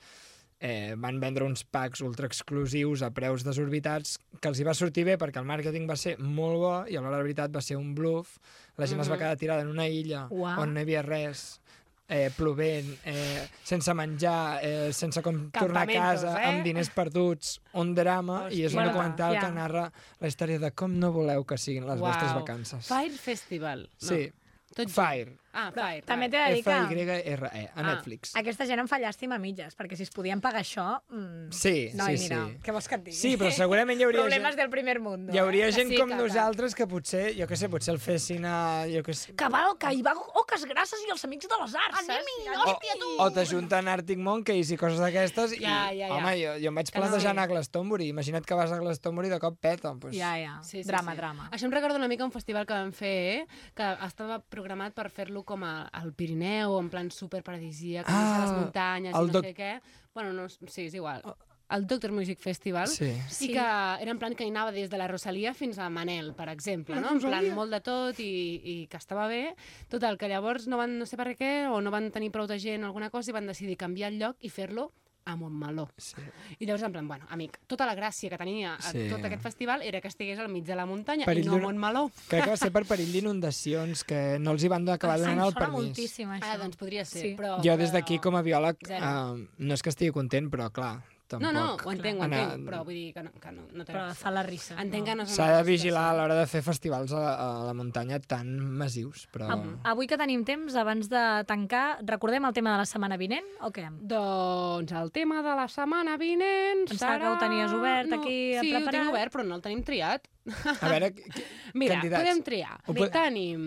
S9: eh, van vendre uns packs ultra exclusius a preus desorbitats que els hi va sortir bé perquè el màrqueting va ser molt bo i a l'hora de la veritat va ser un bluff. La gent es va quedar tirada en una illa
S7: Uau.
S9: on no hi havia res, eh, plovent, eh, sense menjar, eh, sense com tornar a casa,
S8: Campamentos, eh?
S9: amb diners perduts, un drama, i és un
S8: Hòstia.
S9: documental
S7: Ja.
S9: que narra la història de com no voleu que siguin les
S8: Uau.
S9: vostres vacances.
S8: Fire Festival. No.
S9: Sí,
S8: Tot junts.
S9: Fire,
S8: Ah, Fire.
S7: També t'he de dir que Ah,
S9: F-Y-R-E, E,
S8: Ah,
S9: a Netflix.
S7: aquesta gent em fa llàstima a mitges, perquè si es podien pagar això... Mm,
S9: Sí,
S7: no,
S9: sí,
S7: mira,
S9: sí.
S7: què vols que et digui?
S9: Sí, però segurament hi hauria
S7: Problemes
S9: gent-
S7: del primer mundo. eh?
S9: Hi hauria gent
S8: eh? Sí,
S9: com
S8: que-
S9: nosaltres que potser, jo què sé, potser el fessin a... Jo què sé,
S7: que va, que hi va oques grasses i els amics de les arts. Anem-hi,
S9: o, o t'ajunten a Arctic Monkeys i coses d'aquestes i,
S8: Ja, ja, ja.
S9: home, jo, jo em vaig
S8: no,
S9: plantejar
S8: sí.
S9: anar a Glastonbury. Imagina't que vas a Glastonbury i de cop peta. Doncs...
S7: Ja, ja. Sí, sí, drama, sí. drama.
S8: Això em recorda una mica un festival que vam fer, eh? que estava programat per fer-lo com a, al Pirineu, en plan superparadisíac, ah, a les
S9: Ah,
S8: muntanyes
S9: el
S8: i no
S9: doc- Oh.
S8: sé què. Bueno, no, sí, és igual. El Doctor Music Festival.
S9: Sí.
S8: Sí. I que era en plan que anava des de la Rosalia fins a Manel, per exemple, no? En plan molt de tot i, i que estava bé. Total, que llavors no van, no sé per què, o no van tenir prou de gent o alguna cosa i van decidir canviar el lloc i fer-lo a Montmeló.
S9: Sí.
S8: I llavors, en plan, bueno, amic, tota la gràcia que tenia sí.
S9: Sí.
S8: tot aquest festival era que estigués al mig de la muntanya
S9: Perill
S8: i no a
S9: d'una-
S8: Montmeló.
S9: Crec que va ser per perill d'inundacions, que no els hi van acabar
S7: Em
S9: donant el
S7: sona
S9: permís.
S7: moltíssim, això.
S8: Ah, doncs podria ser,
S7: Sí.
S8: sí. però...
S9: Jo des d'aquí, com a biòleg,
S8: Zero.
S9: uh, no és que estigui content, però clar, tampoc...
S8: No, no, ho entenc, ho
S9: Anar-
S8: entenc, però vull dir que no, que no, no té...
S7: Però fa la risa.
S8: Entenc que no és una
S9: S'ha de
S8: cosa
S9: vigilar a
S8: especial.
S9: l'hora de fer festivals a la, a la muntanya tan massius, però...
S7: Av- Avui que tenim temps, abans de tancar, recordem el tema de la setmana vinent o què?
S8: Doncs el tema de la setmana vinent
S7: Em
S8: serà...
S7: sembla que ho tenies obert aquí,
S8: Sí, ho
S7: preparat.
S8: tinc obert, però no el tenim triat.
S9: A veure, qui- qui-
S8: Mira,
S9: candidats.
S8: podem triar.
S9: Ho po-
S8: Tenim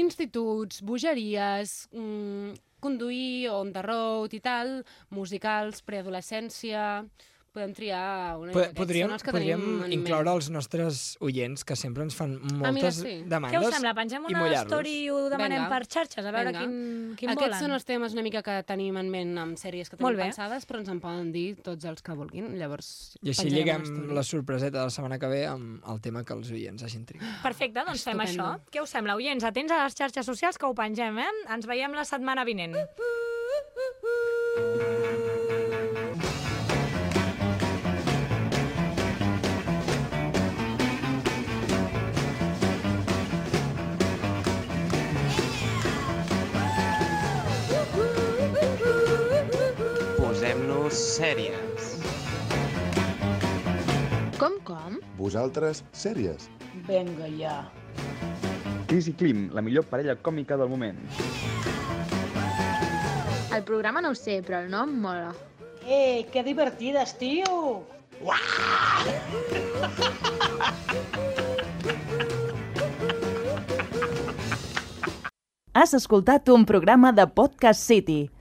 S8: instituts, bogeries, mm, conduir, on the road i tal, musicals, preadolescència... Podem triar... Una...
S9: po-
S8: aquests
S9: podríem,
S8: són els que
S9: podríem
S8: tenim en ment.
S9: incloure els nostres oients, que sempre ens fan moltes
S8: Ah, mira, sí.
S9: demandes.
S7: Què us sembla? Pengem
S9: i
S7: una
S9: mullar-los.
S7: story i ho demanem
S8: Vinga.
S7: per xarxes, a veure
S8: Vinga.
S7: quin, quin
S8: Aquests
S7: volen.
S8: són els temes una mica que tenim en ment amb sèries que
S7: Molt
S8: tenim
S7: bé.
S8: pensades, però ens en poden dir tots els que vulguin. Llavors,
S9: I així
S8: penjarem
S9: lliguem
S8: una estona.
S9: la sorpreseta de la setmana que ve amb el tema que els oients hagin triat.
S7: Perfecte, doncs fem això.
S8: Estupendo.
S7: Què us sembla, oients? Atents a les xarxes socials que ho pengem, eh? Ens veiem la setmana vinent.
S11: Thank
S10: Posarem-nos sèries.
S12: Com, com?
S4: Vosaltres, sèries.
S12: Venga ja.
S6: Cris i Klim, la millor parella còmica del moment.
S3: El programa no ho sé, però el nom mola.
S12: Eh, que divertides, tio!
S1: Has escoltat un programa de Podcast City,